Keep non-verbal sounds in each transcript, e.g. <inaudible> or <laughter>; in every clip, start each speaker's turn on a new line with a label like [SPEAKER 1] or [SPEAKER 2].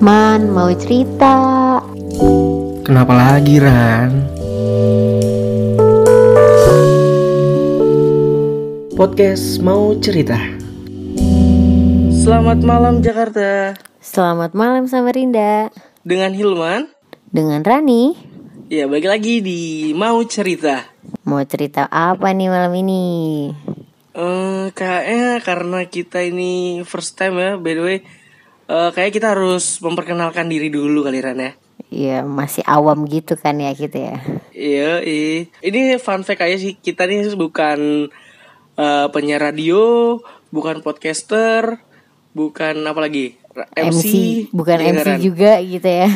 [SPEAKER 1] Ran mau cerita.
[SPEAKER 2] Kenapa lagi Ran? Podcast mau cerita.
[SPEAKER 3] Selamat malam Jakarta
[SPEAKER 1] Selamat malam Samarinda.
[SPEAKER 3] Dengan Hilman
[SPEAKER 1] Dengan Rani,
[SPEAKER 3] Ya balik lagi di Mau Cerita
[SPEAKER 1] mau cerita apa nih malam ini?
[SPEAKER 3] eh Kayaknya karena kita ini first time ya By the way eh, Kayaknya kita harus memperkenalkan diri dulu kali Ran ya
[SPEAKER 1] Ya masih awam gitu kan ya gitu ya.
[SPEAKER 3] Iya, iya. ini fun fact aja sih kita nih bukan eh, penyiar radio, bukan podcaster, bukan apa lagi Ra- MC,
[SPEAKER 1] bukan
[SPEAKER 3] Iya,
[SPEAKER 1] MC
[SPEAKER 3] Ran.
[SPEAKER 1] juga gitu
[SPEAKER 3] <laughs>
[SPEAKER 1] ya.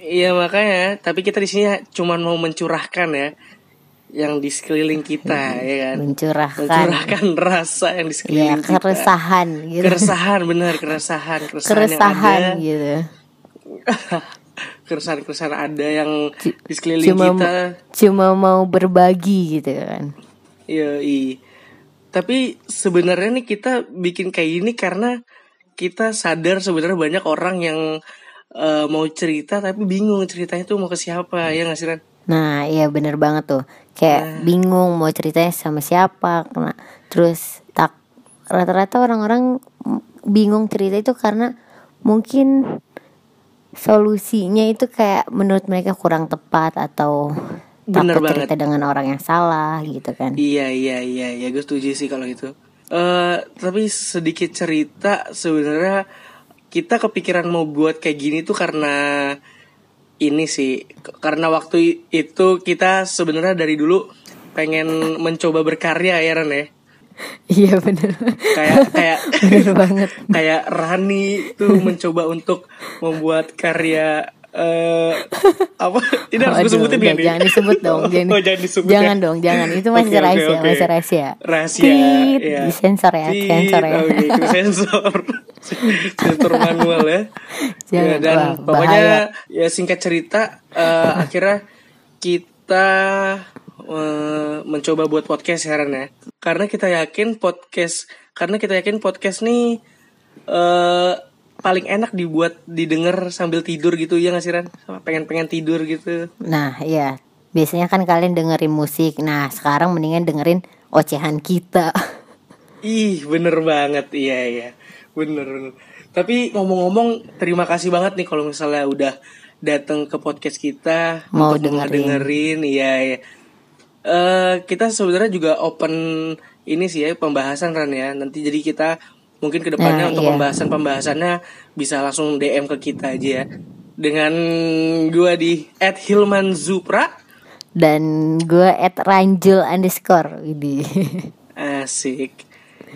[SPEAKER 3] Iya makanya, tapi kita di sini ya cuman mau mencurahkan ya yang di sekeliling
[SPEAKER 1] <laughs>
[SPEAKER 3] kita ya kan.
[SPEAKER 1] Mencurahkan
[SPEAKER 3] Mencurahkan rasa yang di
[SPEAKER 1] ya
[SPEAKER 3] sekeliling kita.
[SPEAKER 1] keresahan gitu.
[SPEAKER 3] Keresahan benar, keresahan, keresahan,
[SPEAKER 1] Keresahan iya.
[SPEAKER 3] yang ada.
[SPEAKER 1] gitu.
[SPEAKER 3] <laughs> Keresahan-keresahan ada yang
[SPEAKER 1] Cu-
[SPEAKER 3] di sekeliling
[SPEAKER 1] cuma
[SPEAKER 3] kita.
[SPEAKER 1] cuma mau berbagi gitu kan.
[SPEAKER 3] Yoi. Tapi sebenarnya nih kita bikin kayak gini karena kita sadar sebenarnya banyak orang yang eh, mau cerita tapi bingung ceritanya tuh mau ke siapa ya nggak sih Ran?
[SPEAKER 1] Nah, iya bener banget tuh.
[SPEAKER 3] Iya.
[SPEAKER 1] Kayak bingung mau ceritanya sama siapa. Kena. Terus tak rata-rata orang-orang m- bingung cerita itu karena mungkin solusinya itu kayak menurut mereka kurang tepat atau
[SPEAKER 3] Bener
[SPEAKER 1] takut
[SPEAKER 3] banget.
[SPEAKER 1] cerita dengan orang yang salah gitu kan.
[SPEAKER 3] Iya iya iya ya gue setuju sih kalau gitu. eh tapi sedikit cerita sebenarnya kita kepikiran mau buat kayak gini tuh karena ini sih K- karena waktu i- itu kita sebenarnya dari dulu pengen mencoba berkarya ya Ran ya
[SPEAKER 1] <laughs> Iya
[SPEAKER 3] <laughs>
[SPEAKER 1] bener.
[SPEAKER 3] kayak kayak
[SPEAKER 1] <laughs> bener banget.
[SPEAKER 3] kayak Rani tuh mencoba untuk membuat karya eh apa ini
[SPEAKER 1] Waduh,
[SPEAKER 3] harus gue sebutin
[SPEAKER 1] udah,
[SPEAKER 3] nggak nih?
[SPEAKER 1] jangan disebut dong. Jangan,
[SPEAKER 3] <laughs> Oh, jangan disebut ya.
[SPEAKER 1] jangan dong, jangan. Itu masih
[SPEAKER 3] Oke, oke,
[SPEAKER 1] rahasia,
[SPEAKER 3] oke.
[SPEAKER 1] masih rahasia.
[SPEAKER 3] Rahasia.
[SPEAKER 1] Tit,
[SPEAKER 3] ya.
[SPEAKER 1] disensor ya,
[SPEAKER 3] Tit,
[SPEAKER 1] sensor ya.
[SPEAKER 3] Oke, kita sensor. <laughs> sensor manual ya.
[SPEAKER 1] Jangan,
[SPEAKER 3] Ya, dan
[SPEAKER 1] wah,
[SPEAKER 3] pokoknya ya singkat cerita eh, <laughs> akhirnya kita eh, mencoba buat podcast heran ya. Karena kita yakin podcast karena kita yakin podcast nih eh paling enak dibuat didengar sambil tidur gitu ya nggak sih Ran? Sama pengen-pengen tidur gitu.
[SPEAKER 1] Nah, iya. Biasanya kan kalian dengerin musik. Nah, sekarang mendingan dengerin ocehan kita. <laughs>
[SPEAKER 3] Ih, bener banget. Iya, iya. Bener, bener. Tapi ngomong-ngomong, terima kasih banget nih kalau misalnya udah datang ke podcast kita
[SPEAKER 1] Mau
[SPEAKER 3] untuk
[SPEAKER 1] dengerin.
[SPEAKER 3] dengerin. Iya, iya. Eh, kita sebenarnya juga open ini sih ya pembahasan kan ya. Nanti jadi kita mungkin kedepannya
[SPEAKER 1] Nah,
[SPEAKER 3] untuk
[SPEAKER 1] iya.
[SPEAKER 3] pembahasan-pembahasannya bisa langsung DM ke kita aja ya. Dengan gua di @hilmanzupra
[SPEAKER 1] Dan gue at ranjul underscore. Widih.
[SPEAKER 3] asik.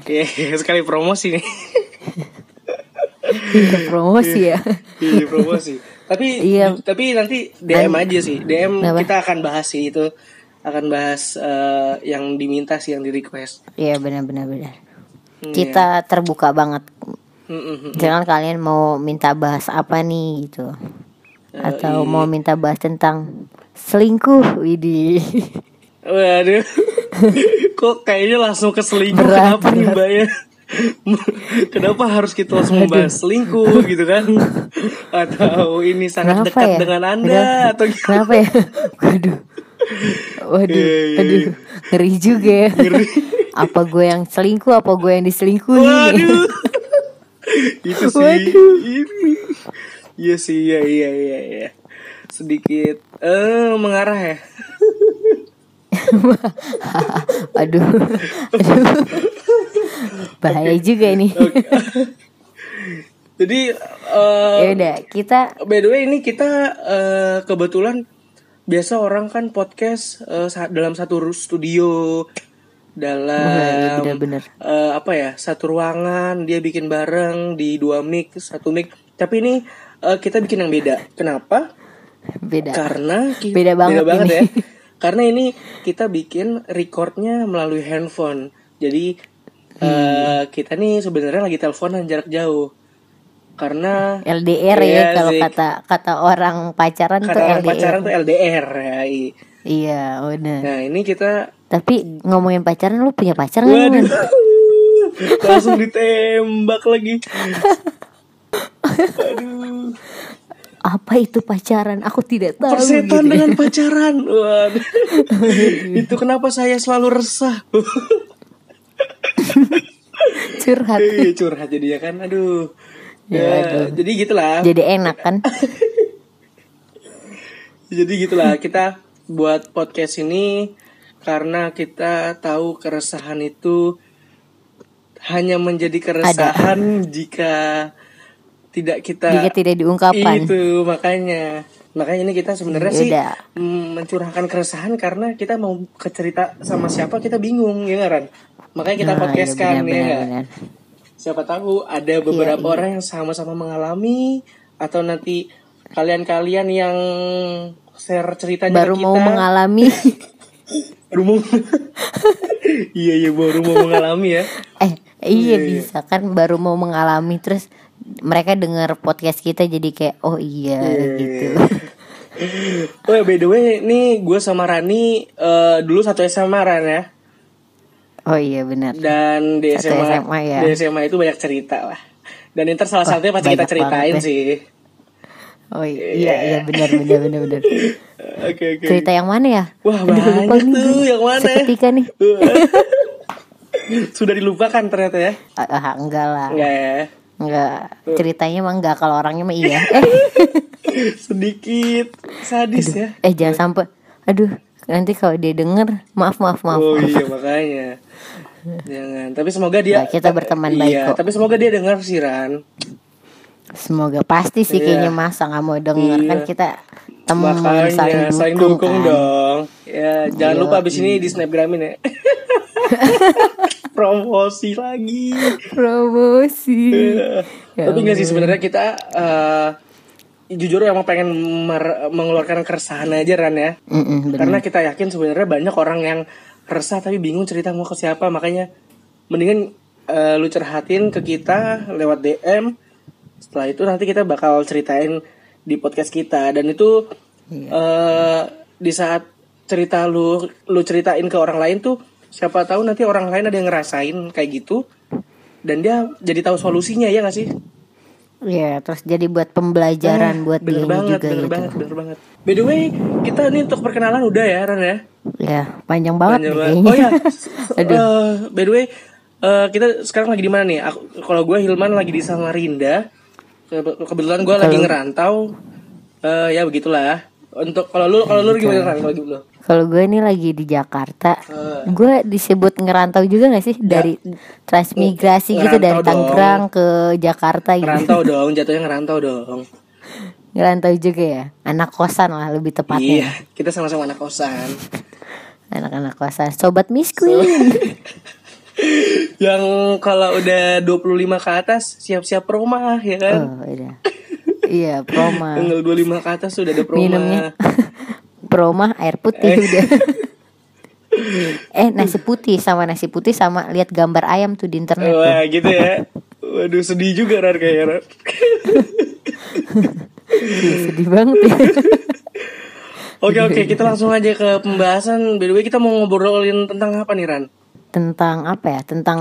[SPEAKER 3] Iya, <laughs> sekali promosi nih.
[SPEAKER 1] Iya, <laughs> Promosi ya.
[SPEAKER 3] Iya promosi. Tapi
[SPEAKER 1] Iya.
[SPEAKER 3] tapi nanti DM aja sih. DM
[SPEAKER 1] Kenapa?
[SPEAKER 3] kita akan bahas sih itu akan bahas eh, yang diminta sih yang Hmm, di request.
[SPEAKER 1] Iya, benar-benar benar. Kita terbuka banget.
[SPEAKER 3] iya.
[SPEAKER 1] Jangan kalian mau minta bahas apa nih gitu. Atau mau minta bahas tentang selingkuh, Widih. <laughs>
[SPEAKER 3] Waduh. <laughs> Kok kayaknya langsung ke selingkuh
[SPEAKER 1] Berat,
[SPEAKER 3] kenapa nih Mbak ya? <laughs> kenapa harus kita langsung membahas selingkuh gitu kan?
[SPEAKER 1] <laughs>
[SPEAKER 3] Atau ini sangat dekat dengan
[SPEAKER 1] ya? Kenapa-
[SPEAKER 3] Anda <laughs> atau gitu.
[SPEAKER 1] Kenapa ya? <laughs> Waduh. Waduh,
[SPEAKER 3] Iya, iya,
[SPEAKER 1] aduh, ngeri juga ya. <laughs> apa gue yang selingkuh, apa gue yang diselingkuhi? <laughs>
[SPEAKER 3] Waduh. <laughs> itu sih.
[SPEAKER 1] Waduh.
[SPEAKER 3] Ini. Iya sih, iya iya iya iya. Sedikit eh mengarah ya.
[SPEAKER 1] aduh, aduh, bahaya juga ini.
[SPEAKER 3] <laughs> Jadi eh
[SPEAKER 1] ya udah, kita
[SPEAKER 3] by the way ini kita eh, kebetulan biasa orang kan podcast eh, sa- dalam satu ru- studio dalam
[SPEAKER 1] Bener-bener.
[SPEAKER 3] eh, apa ya satu ruangan dia bikin bareng di dua mic satu mic tapi ini eh, kita bikin yang beda kenapa
[SPEAKER 1] beda.
[SPEAKER 3] karena ki-
[SPEAKER 1] Beda banget ini. <laughs>
[SPEAKER 3] ya karena ini kita bikin recordnya melalui handphone jadi
[SPEAKER 1] Hmm.
[SPEAKER 3] eh, kita nih sebenarnya lagi teleponan jarak jauh karena
[SPEAKER 1] LDR ya
[SPEAKER 3] Iya
[SPEAKER 1] kalau
[SPEAKER 3] sih.
[SPEAKER 1] kata kata orang pacaran tuh
[SPEAKER 3] karena
[SPEAKER 1] LDR.
[SPEAKER 3] pacaran tuh LDR ya i.
[SPEAKER 1] Iya, bener.
[SPEAKER 3] nah ini kita
[SPEAKER 1] Tapi ngomongin pacaran lu punya pacar nggak?
[SPEAKER 3] waduh <laughs>
[SPEAKER 1] Mon?
[SPEAKER 3] langsung ditembak lagi aduh
[SPEAKER 1] apa itu pacaran aku tidak tahu gitu.
[SPEAKER 3] Persetan dengan
[SPEAKER 1] <laughs>
[SPEAKER 3] pacaran. Waduh. Itu kenapa saya selalu resah.
[SPEAKER 1] curhat
[SPEAKER 3] Iya, curhat jadinya kan. Aduh. Ya, jadi gitulah.
[SPEAKER 1] jadi enak kan
[SPEAKER 3] Jadi gitulah kita buat podcast ini karena kita tahu keresahan itu hanya menjadi keresahan jika tidak kita
[SPEAKER 1] jika tidak diungkapkan
[SPEAKER 3] itu makanya makanya ini kita sebenarnya sih
[SPEAKER 1] Yaudah.
[SPEAKER 3] mm, mencurahkan keresahan karena kita mau ke cerita sama siapa kita bingung ya nggak, Ran? Makanya kita
[SPEAKER 1] Nah, iya,
[SPEAKER 3] podcastkan
[SPEAKER 1] benar,
[SPEAKER 3] ya nggak?
[SPEAKER 1] benar, benar.
[SPEAKER 3] siapa tahu ada
[SPEAKER 1] Iya.
[SPEAKER 3] beberapa orang yang sama-sama mengalami atau nanti kalian-kalian yang share ceritanya
[SPEAKER 1] baru
[SPEAKER 3] ke kita
[SPEAKER 1] mau mengalami
[SPEAKER 3] <laughs> baru mau <laughs> iya iya baru mau mengalami ya
[SPEAKER 1] eh iya bisa kan baru mau mengalami terus mereka dengar podcast kita jadi kayak oh iya gitu
[SPEAKER 3] oh by the way nih gue sama Rani eh, dulu satu SMA Ran ya
[SPEAKER 1] <laughs> oh iya benar
[SPEAKER 3] dan di
[SPEAKER 1] Satu
[SPEAKER 3] SMA,
[SPEAKER 1] SMA ya.
[SPEAKER 3] di SMA itu banyak cerita lah dan ntar salah satunya pasti
[SPEAKER 1] banyak
[SPEAKER 3] kita ceritain
[SPEAKER 1] banget
[SPEAKER 3] sih
[SPEAKER 1] oh iya iya, iya benar benar benar
[SPEAKER 3] <laughs>
[SPEAKER 1] benar
[SPEAKER 3] Iya. Eh, oke oke
[SPEAKER 1] cerita yang mana ya
[SPEAKER 3] wah
[SPEAKER 1] Aduh, lupa
[SPEAKER 3] banyak
[SPEAKER 1] nih
[SPEAKER 3] tuh
[SPEAKER 1] gue.
[SPEAKER 3] yang mana
[SPEAKER 1] seketika nih
[SPEAKER 3] sudah dilupakan ternyata ya
[SPEAKER 1] Ah, ah, enggak lah
[SPEAKER 3] enggak ya
[SPEAKER 1] Enggak, ceritanya mah enggak kalau orangnya mah iya. Eh,
[SPEAKER 3] sedikit sadis ya
[SPEAKER 1] eh jangan sampai. Aduh, nanti kalau dia denger, maaf maaf maaf.
[SPEAKER 3] oh iya makanya jangan tapi semoga
[SPEAKER 1] Nah,
[SPEAKER 3] dia
[SPEAKER 1] kita berteman
[SPEAKER 3] iya,
[SPEAKER 1] baik kok.
[SPEAKER 3] tapi semoga dia dengar sih Ran
[SPEAKER 1] Semoga pasti sih kayaknya masa nggak mau denger kan kita teman
[SPEAKER 3] Iya. makanya
[SPEAKER 1] saling dukung,
[SPEAKER 3] saling dukung
[SPEAKER 1] kan. iya.
[SPEAKER 3] dong ya jangan lupa abis ini di snapgramin
[SPEAKER 1] <laughs>
[SPEAKER 3] ya promosi lagi
[SPEAKER 1] Promosi.
[SPEAKER 3] Iya.
[SPEAKER 1] Ya
[SPEAKER 3] tapi nggak sih sebenarnya kita eh, jujur emang pengen mer- mengeluarkan keresahan aja Ran ya
[SPEAKER 1] Mm-mm, bener.
[SPEAKER 3] karena kita yakin sebenarnya banyak orang yang resah tapi bingung cerita mau ke siapa makanya mendingan eh, lu curhatin ke kita lewat DM setelah itu nanti kita bakal ceritain di podcast kita dan itu
[SPEAKER 1] Iya.
[SPEAKER 3] eh, di saat cerita lu lu ceritain ke orang lain tuh siapa tahu nanti orang lain ada yang ngerasain kayak gitu dan dia jadi tahu solusinya ya gak sih
[SPEAKER 1] Iya, terus jadi buat pembelajaran buat dia
[SPEAKER 3] Eh, bener banget
[SPEAKER 1] juga
[SPEAKER 3] bener
[SPEAKER 1] gitu.
[SPEAKER 3] banget bener banget by the way kita nih untuk perkenalan udah ya Ran ya
[SPEAKER 1] Ya, panjang banget
[SPEAKER 3] Panjang
[SPEAKER 1] nih
[SPEAKER 3] banget.
[SPEAKER 1] kayaknya.
[SPEAKER 3] Oh <laughs>
[SPEAKER 1] <laughs>
[SPEAKER 3] ya. Eh, by the way, eh, kita sekarang lagi di mana nih? Aku kalau gue Hilman lagi di Samarinda. Kebe- Kebetulan gue lagi ngerantau. Eh, ya begitulah. Untuk kalau lu kalau lu gimana Ran? Kalau lu?
[SPEAKER 1] Kalau gue nih lagi di Jakarta,
[SPEAKER 3] Eh.
[SPEAKER 1] gue disebut ngerantau juga gak sih dari transmigrasi gitu
[SPEAKER 3] Ya. Ngerantau
[SPEAKER 1] dari
[SPEAKER 3] dong.
[SPEAKER 1] Tangerang ke Jakarta gitu.
[SPEAKER 3] Ngerantau dong, jatuhnya ngerantau dong.
[SPEAKER 1] Ngerantau juga ya, anak kosan lah lebih tepatnya.
[SPEAKER 3] Iya, kita sama-sama anak kosan. <laughs>
[SPEAKER 1] Anak-anak kosan, sobat Miss Queen.
[SPEAKER 3] Yang kalau udah 25 ke atas siap-siap rumah ya
[SPEAKER 1] Oh,
[SPEAKER 3] kan?
[SPEAKER 1] iya. iya, Proma.
[SPEAKER 3] Tanggal 25 ke atas sudah ada <laughs> proma.
[SPEAKER 1] Minumnya <laughs> Proma air putih udah.
[SPEAKER 3] <laughs>
[SPEAKER 1] eh nasi putih sama nasi putih sama lihat gambar ayam tuh di internet. tuh.
[SPEAKER 3] Wah gitu ya Waduh sedih juga Ran kayaknya Ran. iya.
[SPEAKER 1] Ih, sedih banget ya. <laughs>
[SPEAKER 3] Oke oke kita langsung aja ke pembahasan By the way kita mau ngobrolin tentang apa nih Ran?
[SPEAKER 1] Tentang apa ya? Tentang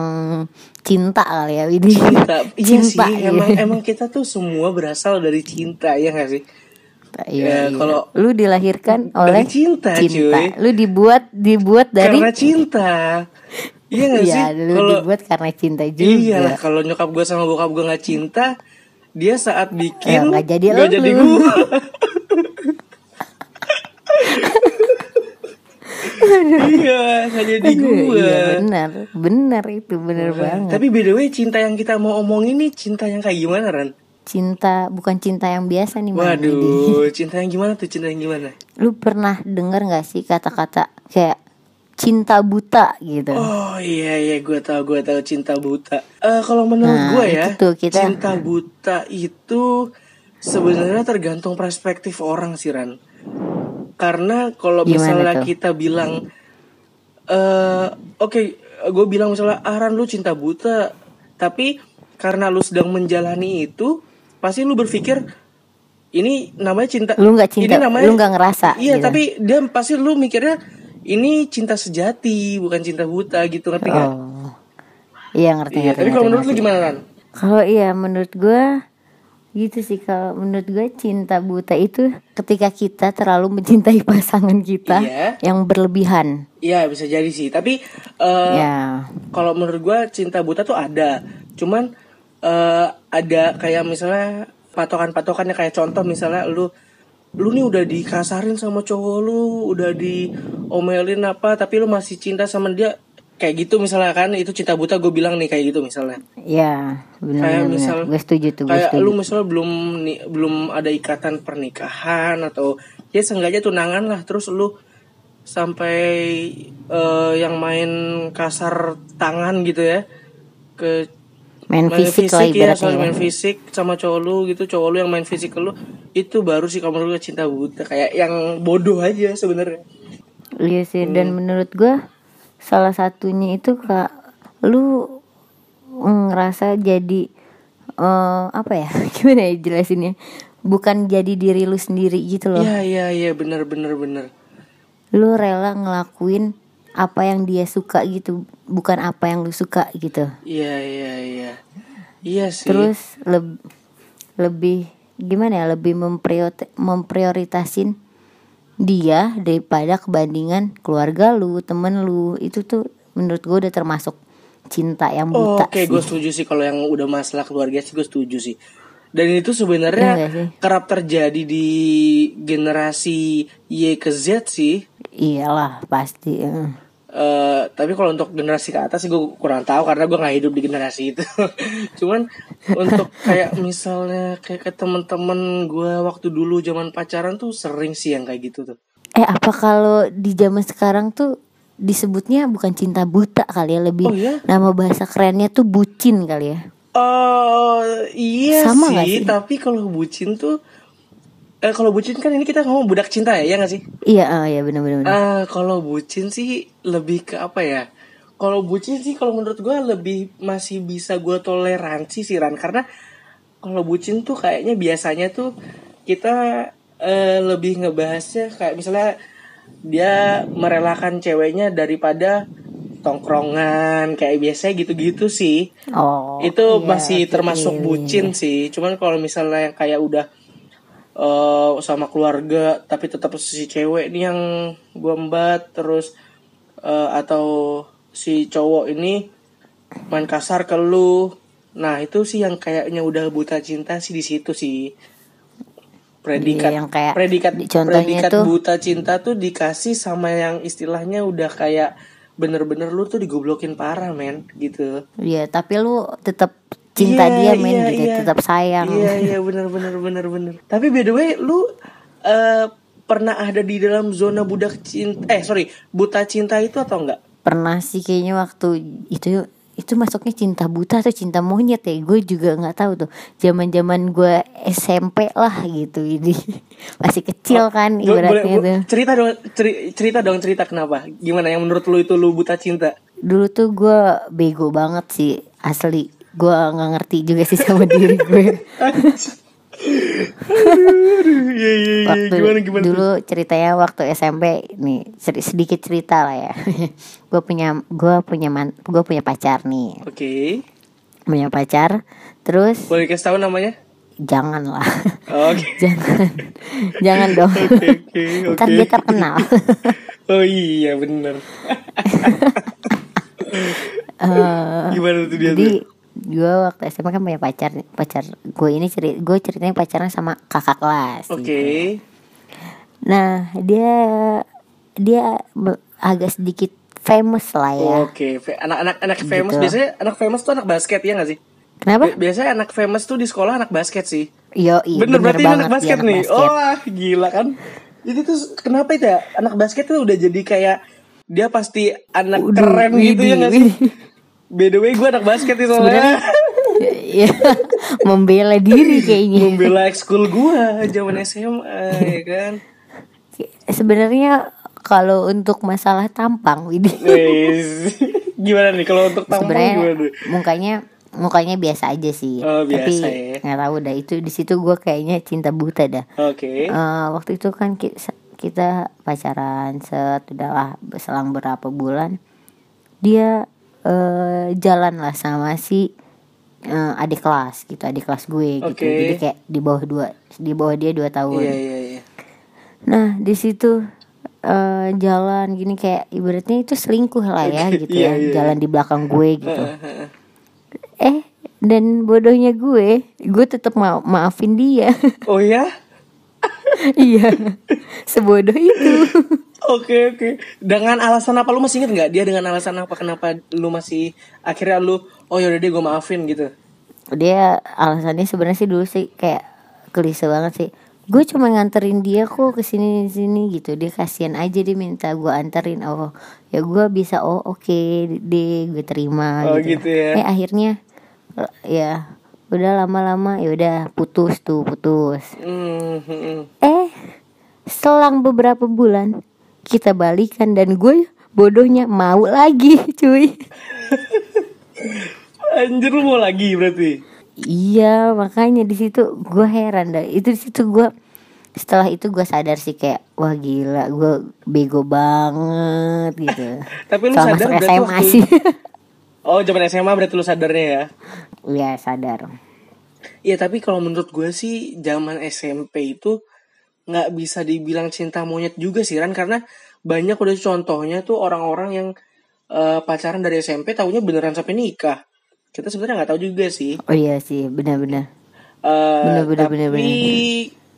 [SPEAKER 1] cinta kali ya ini. <laughs>
[SPEAKER 3] Cinta Iya sih
[SPEAKER 1] Cinta, iya. <laughs>
[SPEAKER 3] emang, emang kita tuh semua berasal dari cinta ya gak sih?
[SPEAKER 1] Iya,
[SPEAKER 3] Ya,
[SPEAKER 1] iya.
[SPEAKER 3] kalau-
[SPEAKER 1] lu dilahirkan oleh
[SPEAKER 3] cinta, cuy.
[SPEAKER 1] Lu dibuat dibuat dari
[SPEAKER 3] Karena cinta Iya gak sih?
[SPEAKER 1] Iya, lu
[SPEAKER 3] Kalau
[SPEAKER 1] dibuat karena cinta juga.
[SPEAKER 3] Iya lah kalau nyokap gue sama bokap gue gak cinta Dia saat
[SPEAKER 1] Ya,
[SPEAKER 3] bikin
[SPEAKER 1] nggak jadi
[SPEAKER 3] nggak
[SPEAKER 1] lu.
[SPEAKER 3] jadi gue
[SPEAKER 1] <laughs>
[SPEAKER 3] Iya gak jadi
[SPEAKER 1] Aduh,
[SPEAKER 3] gue
[SPEAKER 1] Iya, benar. Benar itu, benar banget.
[SPEAKER 3] Tapi by the way cinta yang kita mau omongin nih cinta yang kayak gimana Ran?
[SPEAKER 1] Cinta bukan cinta yang biasa nih, Mam.
[SPEAKER 3] Waduh, cinta yang gimana tuh? Cinta yang gimana?
[SPEAKER 1] Lu pernah dengar nggak sih kata-kata kayak cinta buta gitu?
[SPEAKER 3] Oh iya iya, gue tahu gue tahu cinta buta. Eh kalau menurut
[SPEAKER 1] Nah,
[SPEAKER 3] gue ya,
[SPEAKER 1] itu tuh kita-
[SPEAKER 3] cinta buta itu sebenarnya tergantung perspektif orang sih Ran. Karena kalau
[SPEAKER 1] Gimana
[SPEAKER 3] misalnya
[SPEAKER 1] tuh?
[SPEAKER 3] kita bilang, eh oke, gue bilang misalnya Aran lu cinta buta, tapi karena lu sedang menjalani itu, pasti lu berpikir ini namanya cinta.
[SPEAKER 1] Lu nggak cinta,
[SPEAKER 3] ini namanya-
[SPEAKER 1] lu nggak ngerasa
[SPEAKER 3] Iya,
[SPEAKER 1] gitu.
[SPEAKER 3] tapi dia pasti lu mikirnya ini cinta sejati, bukan cinta buta gitu ngerti nggak?
[SPEAKER 1] Oh. Iya, ngerti
[SPEAKER 3] Iya,
[SPEAKER 1] ngerti.
[SPEAKER 3] tapi
[SPEAKER 1] ngerti,
[SPEAKER 3] kalau menurut lu
[SPEAKER 1] ngerti.
[SPEAKER 3] gimana Ran?
[SPEAKER 1] Kalau iya menurut gue gitu sih kalau menurut gue cinta buta itu ketika kita terlalu mencintai pasangan kita
[SPEAKER 3] Iya.
[SPEAKER 1] yang berlebihan
[SPEAKER 3] Iya bisa jadi sih. Tapi eh,
[SPEAKER 1] ya
[SPEAKER 3] kalau menurut gua cinta buta tuh ada. Cuman eh, ada kayak misalnya patokan-patokannya kayak contoh misalnya lu lu nih udah dikasarin sama cowok lu, udah diomelin apa, tapi lu masih cinta sama dia kayak gitu misalnya kan itu cinta buta gue bilang nih kayak gitu misalnya
[SPEAKER 1] ya benar
[SPEAKER 3] kayak misal
[SPEAKER 1] benar gue setuju tuh gue
[SPEAKER 3] kayak
[SPEAKER 1] setuju
[SPEAKER 3] lu misalnya belum ni- belum ada ikatan pernikahan atau ya sengaja tunangan lah terus lu sampai eh, yang main kasar tangan gitu ya ke
[SPEAKER 1] main fisik lah
[SPEAKER 3] ya
[SPEAKER 1] ibaratnya
[SPEAKER 3] soal
[SPEAKER 1] ya.
[SPEAKER 3] main fisik sama cowok lu gitu cowok lu yang main fisik ke lu itu baru sih kamu lu cinta buta kayak yang bodoh aja sebenarnya
[SPEAKER 1] Iya sih dan menurut gua salah satunya itu kak lu ngerasa jadi eh, apa ya <laughs> gimana ya jelasinnya bukan jadi diri lu sendiri gitu loh
[SPEAKER 3] iya iya iya bener bener bener
[SPEAKER 1] lu rela ngelakuin apa yang dia suka gitu bukan apa yang lu suka gitu
[SPEAKER 3] iya iya iya iya sih
[SPEAKER 1] terus leb- lebih gimana ya lebih memprior- memprioritasin dia daripada kebandingan keluarga lu temen lu itu tuh menurut gue udah termasuk cinta yang
[SPEAKER 3] Oh,
[SPEAKER 1] buta
[SPEAKER 3] Oke,
[SPEAKER 1] sih
[SPEAKER 3] gue setuju sih kalau yang udah masalah keluarga sih gue setuju sih. Dan itu
[SPEAKER 1] Iya
[SPEAKER 3] sebenarnya
[SPEAKER 1] nggak sih?
[SPEAKER 3] kerap terjadi di generasi Y ke Z sih.
[SPEAKER 1] iyalah pasti eh.
[SPEAKER 3] Eh, tapi kalau untuk generasi ke atas sih gue kurang tahu karena gue nggak hidup di generasi itu. <laughs> Cuman
[SPEAKER 1] <laughs>
[SPEAKER 3] untuk kayak misalnya kayak ke temen-temen gue waktu dulu zaman pacaran tuh sering sih yang kayak gitu tuh.
[SPEAKER 1] eh apa kalau di zaman sekarang tuh disebutnya bukan cinta buta kali ya lebih
[SPEAKER 3] Oh, iya?
[SPEAKER 1] nama bahasa kerennya tuh bucin kali ya
[SPEAKER 3] Oh iya
[SPEAKER 1] Sama nggak
[SPEAKER 3] sih,
[SPEAKER 1] sih?
[SPEAKER 3] tapi kalau bucin tuh, eh kalau bucin kan ini kita ngomong budak cinta ya, ya nggak sih?
[SPEAKER 1] iya eh, iya benar-benar
[SPEAKER 3] Eh, kalau bucin sih lebih ke apa ya? Kalau bucin sih kalau menurut gua lebih masih bisa gua toleransi sih Ran karena kalau bucin tuh kayaknya biasanya tuh kita eh, lebih ngebahasnya kayak misalnya dia merelakan ceweknya daripada tongkrongan kayak biasanya gitu-gitu sih
[SPEAKER 1] oh
[SPEAKER 3] itu
[SPEAKER 1] iya,
[SPEAKER 3] masih
[SPEAKER 1] oke,
[SPEAKER 3] termasuk
[SPEAKER 1] iya, iya,
[SPEAKER 3] bucin sih cuman kalau misalnya yang kayak udah eh, sama keluarga tapi tetap si cewek nih yang gua embat terus eh, atau si cowok ini main kasar ke lu nah itu sih yang kayaknya udah buta cinta sih di situ sih predikat
[SPEAKER 1] Iya, yang kayak
[SPEAKER 3] predikat
[SPEAKER 1] di- contohnya
[SPEAKER 3] predikat
[SPEAKER 1] tuh-
[SPEAKER 3] buta cinta tuh dikasih sama yang istilahnya udah kayak bener-bener lu tuh digoblokin parah men gitu
[SPEAKER 1] Iya, tapi lu tetap cinta dia
[SPEAKER 3] Iya,
[SPEAKER 1] men
[SPEAKER 3] iya,
[SPEAKER 1] gitu,
[SPEAKER 3] iya.
[SPEAKER 1] tetap sayang.
[SPEAKER 3] Iya iya benar benar benar benar. Tapi by the way lu eh, pernah ada di dalam zona budak cinta eh sorry buta cinta itu atau enggak?
[SPEAKER 1] Pernah sih kayaknya waktu itu itu masuknya cinta buta atau cinta monyet ya? Gue juga nggak tahu tuh. Zaman-zaman gue SMP lah gitu ini. <laughs> Masih kecil kan
[SPEAKER 3] Lu Oh, boleh-
[SPEAKER 1] ibaratnya
[SPEAKER 3] bu-
[SPEAKER 1] tuh.
[SPEAKER 3] cerita dong ceri- cerita dong cerita kenapa? Gimana yang menurut lu itu lu buta cinta?
[SPEAKER 1] Dulu tuh gue bego banget sih asli. Gue nggak ngerti juga sih sama <laughs> diri gue.
[SPEAKER 3] Iya iya iya
[SPEAKER 1] waktu
[SPEAKER 3] gimana gimana?
[SPEAKER 1] dulu ceritanya waktu SMP nih sedi- sedikit cerita lah ya. <laughs> gue punya gue punya man gue punya pacar nih.
[SPEAKER 3] Oke.
[SPEAKER 1] punya pacar terus
[SPEAKER 3] Boleh kasih tahu namanya?
[SPEAKER 1] janganlah <laughs>
[SPEAKER 3] Oke.
[SPEAKER 1] jangan <laughs> jangan dong <laughs>
[SPEAKER 3] Oke oke
[SPEAKER 1] ntar
[SPEAKER 3] oke.
[SPEAKER 1] dia terkenal
[SPEAKER 3] <laughs> Oh iya
[SPEAKER 1] <laughs>
[SPEAKER 3] benar. gimana tuh
[SPEAKER 1] Eh,
[SPEAKER 3] dia tuh?
[SPEAKER 1] jadi gue waktu SMA kan punya pacar pacar gue ini ceri gue ceritanya pacaran sama kakak kelas
[SPEAKER 3] Oke.
[SPEAKER 1] nah dia dia be- agak sedikit famous lah ya
[SPEAKER 3] Oke, fe- anak-anak anak
[SPEAKER 1] Gitu.
[SPEAKER 3] famous biasanya anak famous tuh anak basket ya nggak sih? Bi-
[SPEAKER 1] kenapa
[SPEAKER 3] Biasanya anak famous tuh di sekolah anak basket sih.
[SPEAKER 1] yo iya
[SPEAKER 3] bener, berarti ini anak basket nih.
[SPEAKER 1] basket.
[SPEAKER 3] Wah, gila kan? Itu tuh kenapa itu ya? Anak basket tuh udah jadi kayak dia pasti anak
[SPEAKER 1] Waduh,
[SPEAKER 3] keren gitu
[SPEAKER 1] widih,
[SPEAKER 3] ya nggak sih? By the way, gue anak basket itu soalnya
[SPEAKER 1] Iya, <laughs> membela diri
[SPEAKER 3] <laughs>
[SPEAKER 1] kayaknya
[SPEAKER 3] <laughs> membela ekskul gue zaman SMA ya kan.
[SPEAKER 1] sebenarnya kalau untuk masalah tampang Widih
[SPEAKER 3] Wis. <laughs> gimana nih kalau untuk tampang
[SPEAKER 1] sebenarnya
[SPEAKER 3] gimana? tuh?
[SPEAKER 1] mukanya mukanya biasa aja sih
[SPEAKER 3] Oh, biasa
[SPEAKER 1] tapi
[SPEAKER 3] ya.
[SPEAKER 1] nggak tahu dah itu di situ gue kayaknya cinta buta dah
[SPEAKER 3] Oke.
[SPEAKER 1] Eh, waktu itu kan ki- se- kita pacaran set udahlah selang berapa bulan dia eh, jalan lah sama si eh, adik kelas gitu adik kelas gue gitu
[SPEAKER 3] Oke.
[SPEAKER 1] jadi kayak di bawah dua di bawah dia dua tahun
[SPEAKER 3] Iya iya iya.
[SPEAKER 1] Nah di situ eh, jalan gini kayak ibaratnya itu selingkuh lah
[SPEAKER 3] <laughs>
[SPEAKER 1] ya gitu ya
[SPEAKER 3] iya, iya.
[SPEAKER 1] jalan di belakang
[SPEAKER 3] <laughs>
[SPEAKER 1] gue gitu. eh dan bodohnya gue, gue tetap mau maafin dia. <laughs>
[SPEAKER 3] Oh ya?
[SPEAKER 1] iya,
[SPEAKER 3] <laughs>
[SPEAKER 1] sebodoh itu.
[SPEAKER 3] Oke oke. Dengan alasan apa lu masih inget nggak dia dengan alasan apa kenapa lu masih akhirnya lu oh yaudah deh gue maafin gitu.
[SPEAKER 1] dia alasannya sebenarnya sih dulu sih kayak klise banget sih gue cuma nganterin dia kok ke sini sini gitu dia kasihan aja dia minta gue anterin oh ya gue bisa oh oke deh gue terima
[SPEAKER 3] Oh, gitu ya.
[SPEAKER 1] eh akhirnya eh, ya udah lama-lama ya udah putus tuh putus
[SPEAKER 3] Hmm, hmm, hmm.
[SPEAKER 1] eh selang beberapa bulan kita balikan dan gue bodohnya mau lagi <laughs> cuy
[SPEAKER 3] Anjir lu mau lagi berarti.
[SPEAKER 1] Iya makanya di situ gue heran dah itu di situ gue setelah itu gue sadar sih kayak wah gila gue bego banget gitu.
[SPEAKER 3] <laughs> Tapi lu
[SPEAKER 1] Soal
[SPEAKER 3] sadar
[SPEAKER 1] masuk
[SPEAKER 3] berarti
[SPEAKER 1] SMA
[SPEAKER 3] waktu-
[SPEAKER 1] sih.
[SPEAKER 3] Oh zaman SMA berarti lu sadarnya ya.
[SPEAKER 1] <laughs> Iya sadar.
[SPEAKER 3] Iya tapi kalau menurut gue sih zaman SMP itu nggak bisa dibilang cinta monyet juga sih Ran karena banyak udah contohnya tuh orang-orang yang eh, pacaran dari SMP tahunya beneran sampai nikah. Kita sebenarnya nggak tahu juga sih.
[SPEAKER 1] Oh iya sih benar-benar.
[SPEAKER 3] Eh,
[SPEAKER 1] Bener-bener,
[SPEAKER 3] tapi
[SPEAKER 1] bener-bener.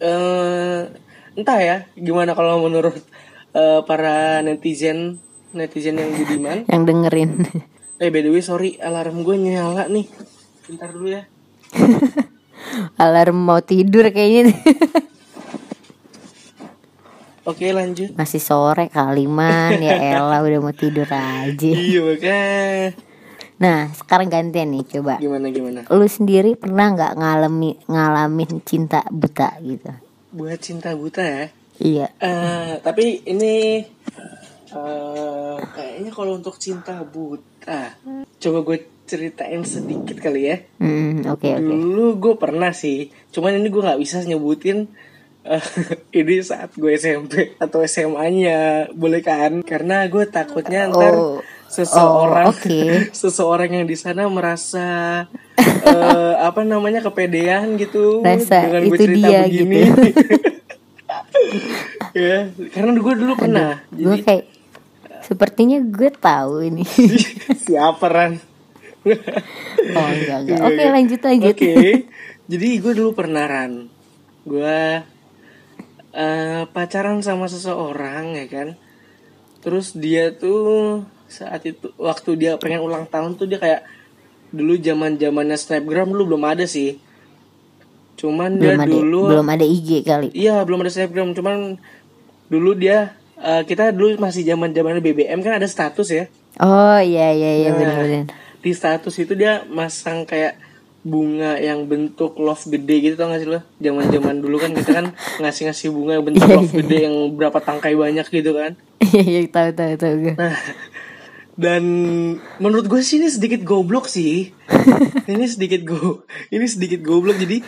[SPEAKER 3] eh, entah ya gimana kalau menurut eh, para netizen netizen yang budiman.
[SPEAKER 1] Yang dengerin. <laughs>
[SPEAKER 3] Eh by the way sorry alarm gue nyala nih. Bentar dulu ya.
[SPEAKER 1] Alarm mau tidur kayaknya.
[SPEAKER 3] Oke lanjut.
[SPEAKER 1] <laughs> Masih sore kaliman ya
[SPEAKER 3] <laughs>
[SPEAKER 1] Ella udah mau tidur aja.
[SPEAKER 3] Iya makanya.
[SPEAKER 1] Nah sekarang gantian nih coba.
[SPEAKER 3] Gimana gimana?
[SPEAKER 1] Lu sendiri pernah nggak ngalami ngalamin cinta buta gitu?
[SPEAKER 3] buat cinta buta ya.
[SPEAKER 1] Iya.
[SPEAKER 3] Eh, tapi ini eh, kayaknya kalau untuk cinta buta, coba gue ceritain sedikit kali ya.
[SPEAKER 1] Hmm oke oke.
[SPEAKER 3] Dulu gue pernah sih, cuman ini gue nggak bisa nyebutin eh, <laughs> ini saat gue SMP atau SMA-nya, boleh kan? Karena gue takutnya ntar
[SPEAKER 1] Oh.
[SPEAKER 3] seseorang
[SPEAKER 1] Oh, oke.
[SPEAKER 3] <laughs> seseorang yang di sana merasa eh, apa namanya kepedean gitu
[SPEAKER 1] Rasa
[SPEAKER 3] dengan gue
[SPEAKER 1] itu
[SPEAKER 3] cerita
[SPEAKER 1] dia, gitu.
[SPEAKER 3] begini. <laughs> ya, karena gue dulu pernah.
[SPEAKER 1] gue kayak sepertinya gue tahu ini <laughs>
[SPEAKER 3] <laughs> Siapa Ran?
[SPEAKER 1] oh enggak enggak oke lanjut lanjut
[SPEAKER 3] Iya, Oke. Jadi gue dulu pernah Ran. Gue eh, pacaran sama seseorang ya kan. Terus dia tuh saat itu waktu dia pengen ulang tahun tuh dia kayak dulu zaman zamannya snapgram dulu belum ada sih. Cuman
[SPEAKER 1] belum
[SPEAKER 3] dia
[SPEAKER 1] ada
[SPEAKER 3] dulu
[SPEAKER 1] belum ada IG kali
[SPEAKER 3] Iya belum ada snapgram cuman dulu dia eh, kita dulu masih zaman zamannya BBM kan ada status ya
[SPEAKER 1] oh iya iya iya benar benar
[SPEAKER 3] di status itu dia masang kayak bunga yang bentuk love gede gitu tau gak sih lo zaman zaman dulu kan kita kan ngasih ngasih bunga yang bentuk love gede yang berapa tangkai banyak gitu kan
[SPEAKER 1] <laughs> iya iya tahu tahu tahu gue
[SPEAKER 3] nah dan menurut gue sih ini sedikit goblok sih ini sedikit go ini sedikit goblok jadi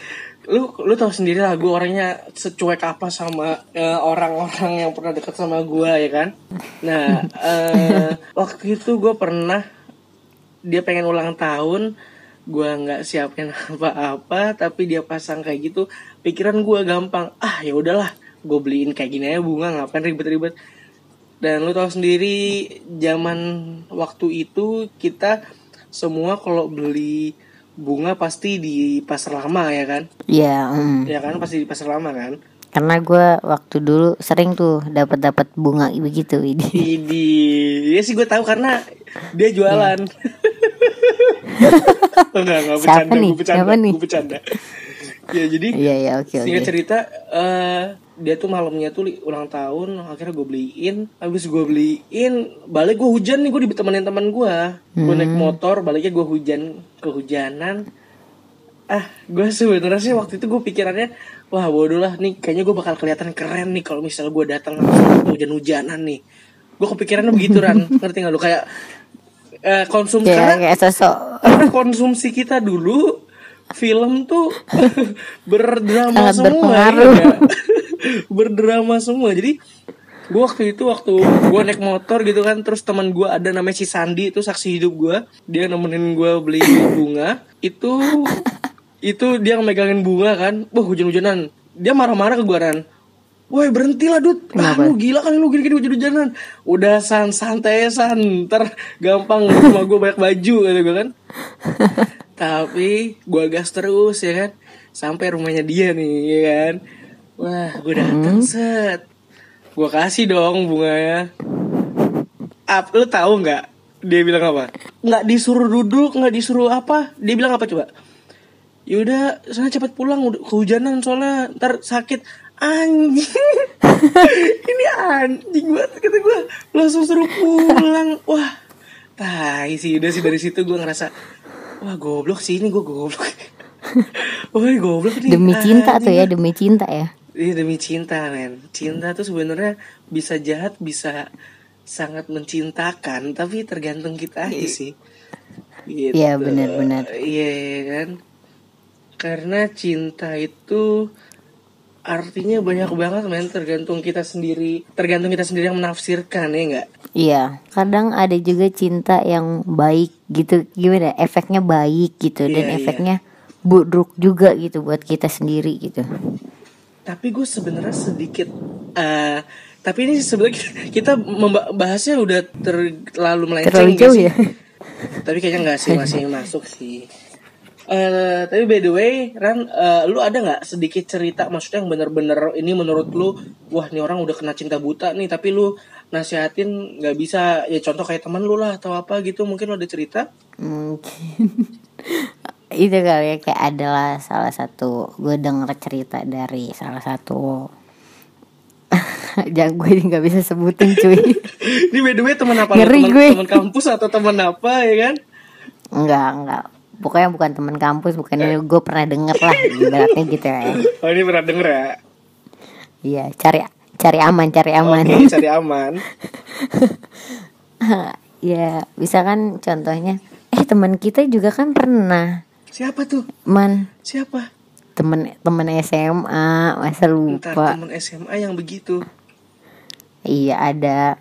[SPEAKER 3] lu lu tahu sendiri lah gue orangnya secuek apa sama eh, orang-orang yang pernah dekat sama gue ya kan nah eh, waktu itu gue pernah dia pengen ulang tahun gua nggak siapin apa-apa tapi dia pasang kayak gitu pikiran gua gampang ah ya udahlah gue beliin kayak gini aja bunga ngapain ribet-ribet dan lu tahu sendiri zaman waktu itu kita semua kalau beli bunga pasti di pasar lama ya kan
[SPEAKER 1] iya mm.
[SPEAKER 3] ya kan pasti di pasar lama kan
[SPEAKER 1] karena gue waktu dulu sering tuh dapat dapat bunga begitu
[SPEAKER 3] <laughs>
[SPEAKER 1] ini
[SPEAKER 3] di, di ya sih gue tahu karena dia jualan <laughs> enggak enggak
[SPEAKER 1] Iya. Siapa
[SPEAKER 3] bercanda
[SPEAKER 1] nih?
[SPEAKER 3] gue bercanda
[SPEAKER 1] Siapa nih?
[SPEAKER 3] gue bercanda ya jadi
[SPEAKER 1] iya iya oke
[SPEAKER 3] singkat
[SPEAKER 1] oke
[SPEAKER 3] cerita eh dia tuh malamnya tuh li- ulang tahun akhirnya gue beliin habis gue beliin balik gue hujan nih gue ditemenin teman gue gue naik
[SPEAKER 1] Hmm.
[SPEAKER 3] motor baliknya gue hujan kehujanan ah gue sebenarnya sih waktu itu gue pikirannya wah bodoh lah nih kayaknya gue bakal kelihatan keren nih kalau misalnya gue datang langsung waktu hujan-hujanan nih gue kepikirannya
[SPEAKER 1] <laughs>
[SPEAKER 3] begitu Ran ngerti gak lu kayak eh, konsumsi
[SPEAKER 1] kayak Iya,
[SPEAKER 3] karena-
[SPEAKER 1] kayak sosok
[SPEAKER 3] karena konsumsi kita dulu film tuh <laughs> berdrama
[SPEAKER 1] Sangat
[SPEAKER 3] semua <laughs>
[SPEAKER 1] berpengaruh.
[SPEAKER 3] iya. berdrama semua jadi gue waktu itu waktu gue naik motor gitu kan terus teman gue ada namanya si Sandi itu saksi hidup gue dia nemenin gue beli bunga itu itu dia megangin bunga kan wah hujan-hujanan dia marah-marah ke gue Ran Woi berhenti lah Dut Ah
[SPEAKER 1] Kenapa?
[SPEAKER 3] lu gila kali lu gini-gini hujan-hujanan Udah san santai san Ntar gampang rumah gue banyak baju gitu gue kan tapi gue gas terus ya kan sampai rumahnya dia nih ya kan wah gue dateng set gue kasih dong bunganya Ap, lu tahu nggak dia bilang apa nggak disuruh duduk nggak disuruh apa dia bilang apa coba yaudah sana cepet pulang udah kehujanan soalnya ntar sakit anjing <laughs> ini anjing banget kata gue langsung suruh pulang wah tai sih udah sih dari situ gue ngerasa wah goblok sih ini gue goblok <laughs> wah goblok nih
[SPEAKER 1] Demi cinta tuh
[SPEAKER 3] anjing.
[SPEAKER 1] ya, demi cinta ya.
[SPEAKER 3] Iya demi cinta men Cinta tuh sebenarnya bisa jahat bisa sangat mencintakan Tapi tergantung kita aja sih Gitu.
[SPEAKER 1] Iya, benar-benar.
[SPEAKER 3] Iya iya kan Karena cinta itu artinya banyak banget men Tergantung kita sendiri Tergantung kita sendiri yang menafsirkan ya enggak
[SPEAKER 1] Iya, kadang ada juga cinta yang baik gitu. Gimana? Efeknya baik gitu dan
[SPEAKER 3] Iya, iya.
[SPEAKER 1] efeknya buruk juga gitu buat kita sendiri gitu.
[SPEAKER 3] tapi gue sebenarnya sedikit eh tapi ini sebenarnya <laughs> kita- kita membahasnya udah terlalu melenceng
[SPEAKER 1] Terlalu
[SPEAKER 3] nggak
[SPEAKER 1] jauh
[SPEAKER 3] sih?
[SPEAKER 1] ya?
[SPEAKER 3] <laughs> tapi kayaknya nggak sih
[SPEAKER 1] <laughs>
[SPEAKER 3] masih masuk sih Eh, tapi by the way Ran eh, lu ada nggak sedikit cerita maksudnya yang bener-bener ini menurut lu wah nih orang udah kena cinta buta nih tapi lu nasihatin nggak bisa ya contoh kayak teman lu lah atau apa gitu mungkin lu ada cerita <laughs>
[SPEAKER 1] Mungkin <laughs> itu kali ya kayak adalah salah satu gue denger cerita dari salah satu <laughs> jangan gue ini nggak bisa sebutin
[SPEAKER 3] <laughs>
[SPEAKER 1] cuy
[SPEAKER 3] ini by the way teman apa lu?
[SPEAKER 1] Ngeri
[SPEAKER 3] Teman-
[SPEAKER 1] gue.
[SPEAKER 3] teman kampus atau teman apa ya kan
[SPEAKER 1] Enggak, enggak. Pokoknya bukan teman kampus, bukan
[SPEAKER 3] Iya.
[SPEAKER 1] gue pernah denger lah ibaratnya gitu ya.
[SPEAKER 3] oh ini pernah denger ya
[SPEAKER 1] Iya, cari cari aman, cari aman.
[SPEAKER 3] oke cari aman
[SPEAKER 1] ya, bisa kan contohnya eh teman kita juga kan pernah
[SPEAKER 3] <laughs> siapa tuh
[SPEAKER 1] man
[SPEAKER 3] Siapa?
[SPEAKER 1] temen temen SMA masa
[SPEAKER 3] Ntar
[SPEAKER 1] lupa
[SPEAKER 3] temen SMA yang begitu
[SPEAKER 1] iya ada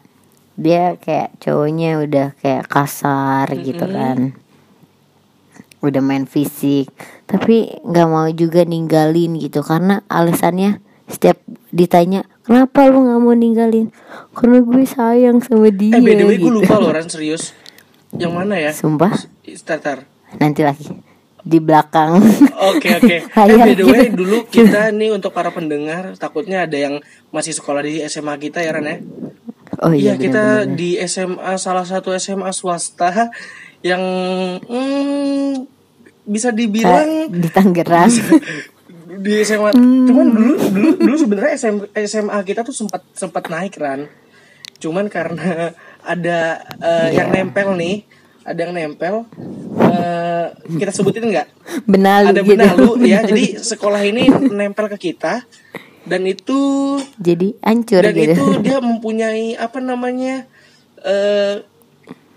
[SPEAKER 1] dia kayak cowoknya udah kayak kasar gitu kan udah main fisik tapi nggak mau juga ninggalin gitu karena alasannya setiap ditanya kenapa lu nggak mau ninggalin karena gue sayang sama dia
[SPEAKER 3] Eh by the way gue
[SPEAKER 1] gitu.
[SPEAKER 3] lupa loh Ran serius Yang mana ya?
[SPEAKER 1] sumpah
[SPEAKER 3] Ntar tar
[SPEAKER 1] nanti lagi di belakang
[SPEAKER 3] Oke
[SPEAKER 1] <laughs>
[SPEAKER 3] <laughs> oke Eh
[SPEAKER 1] Hayal
[SPEAKER 3] by the way
[SPEAKER 1] gitu.
[SPEAKER 3] dulu kita nih untuk para pendengar Takutnya ada yang masih sekolah di SMA kita ya Ran ya
[SPEAKER 1] oh iya,
[SPEAKER 3] Iya kita
[SPEAKER 1] bener-bener.
[SPEAKER 3] di SMA salah satu SMA swasta Yang hmm, bisa dibilang
[SPEAKER 1] Eh, di
[SPEAKER 3] <laughs>
[SPEAKER 1] Tangerang
[SPEAKER 3] di SMA cuman dulu dulu dulu sebenarnya SM SMA kita tuh sempat sempat naik kan cuman karena ada eh, yang nempel nih ada yang nempel eh, kita sebutin nggak
[SPEAKER 1] benalu
[SPEAKER 3] ada
[SPEAKER 1] gitu.
[SPEAKER 3] benalu
[SPEAKER 1] <laughs>
[SPEAKER 3] ya jadi sekolah ini nempel ke kita dan itu
[SPEAKER 1] jadi hancur
[SPEAKER 3] dan
[SPEAKER 1] gitu
[SPEAKER 3] itu dia mempunyai apa namanya eh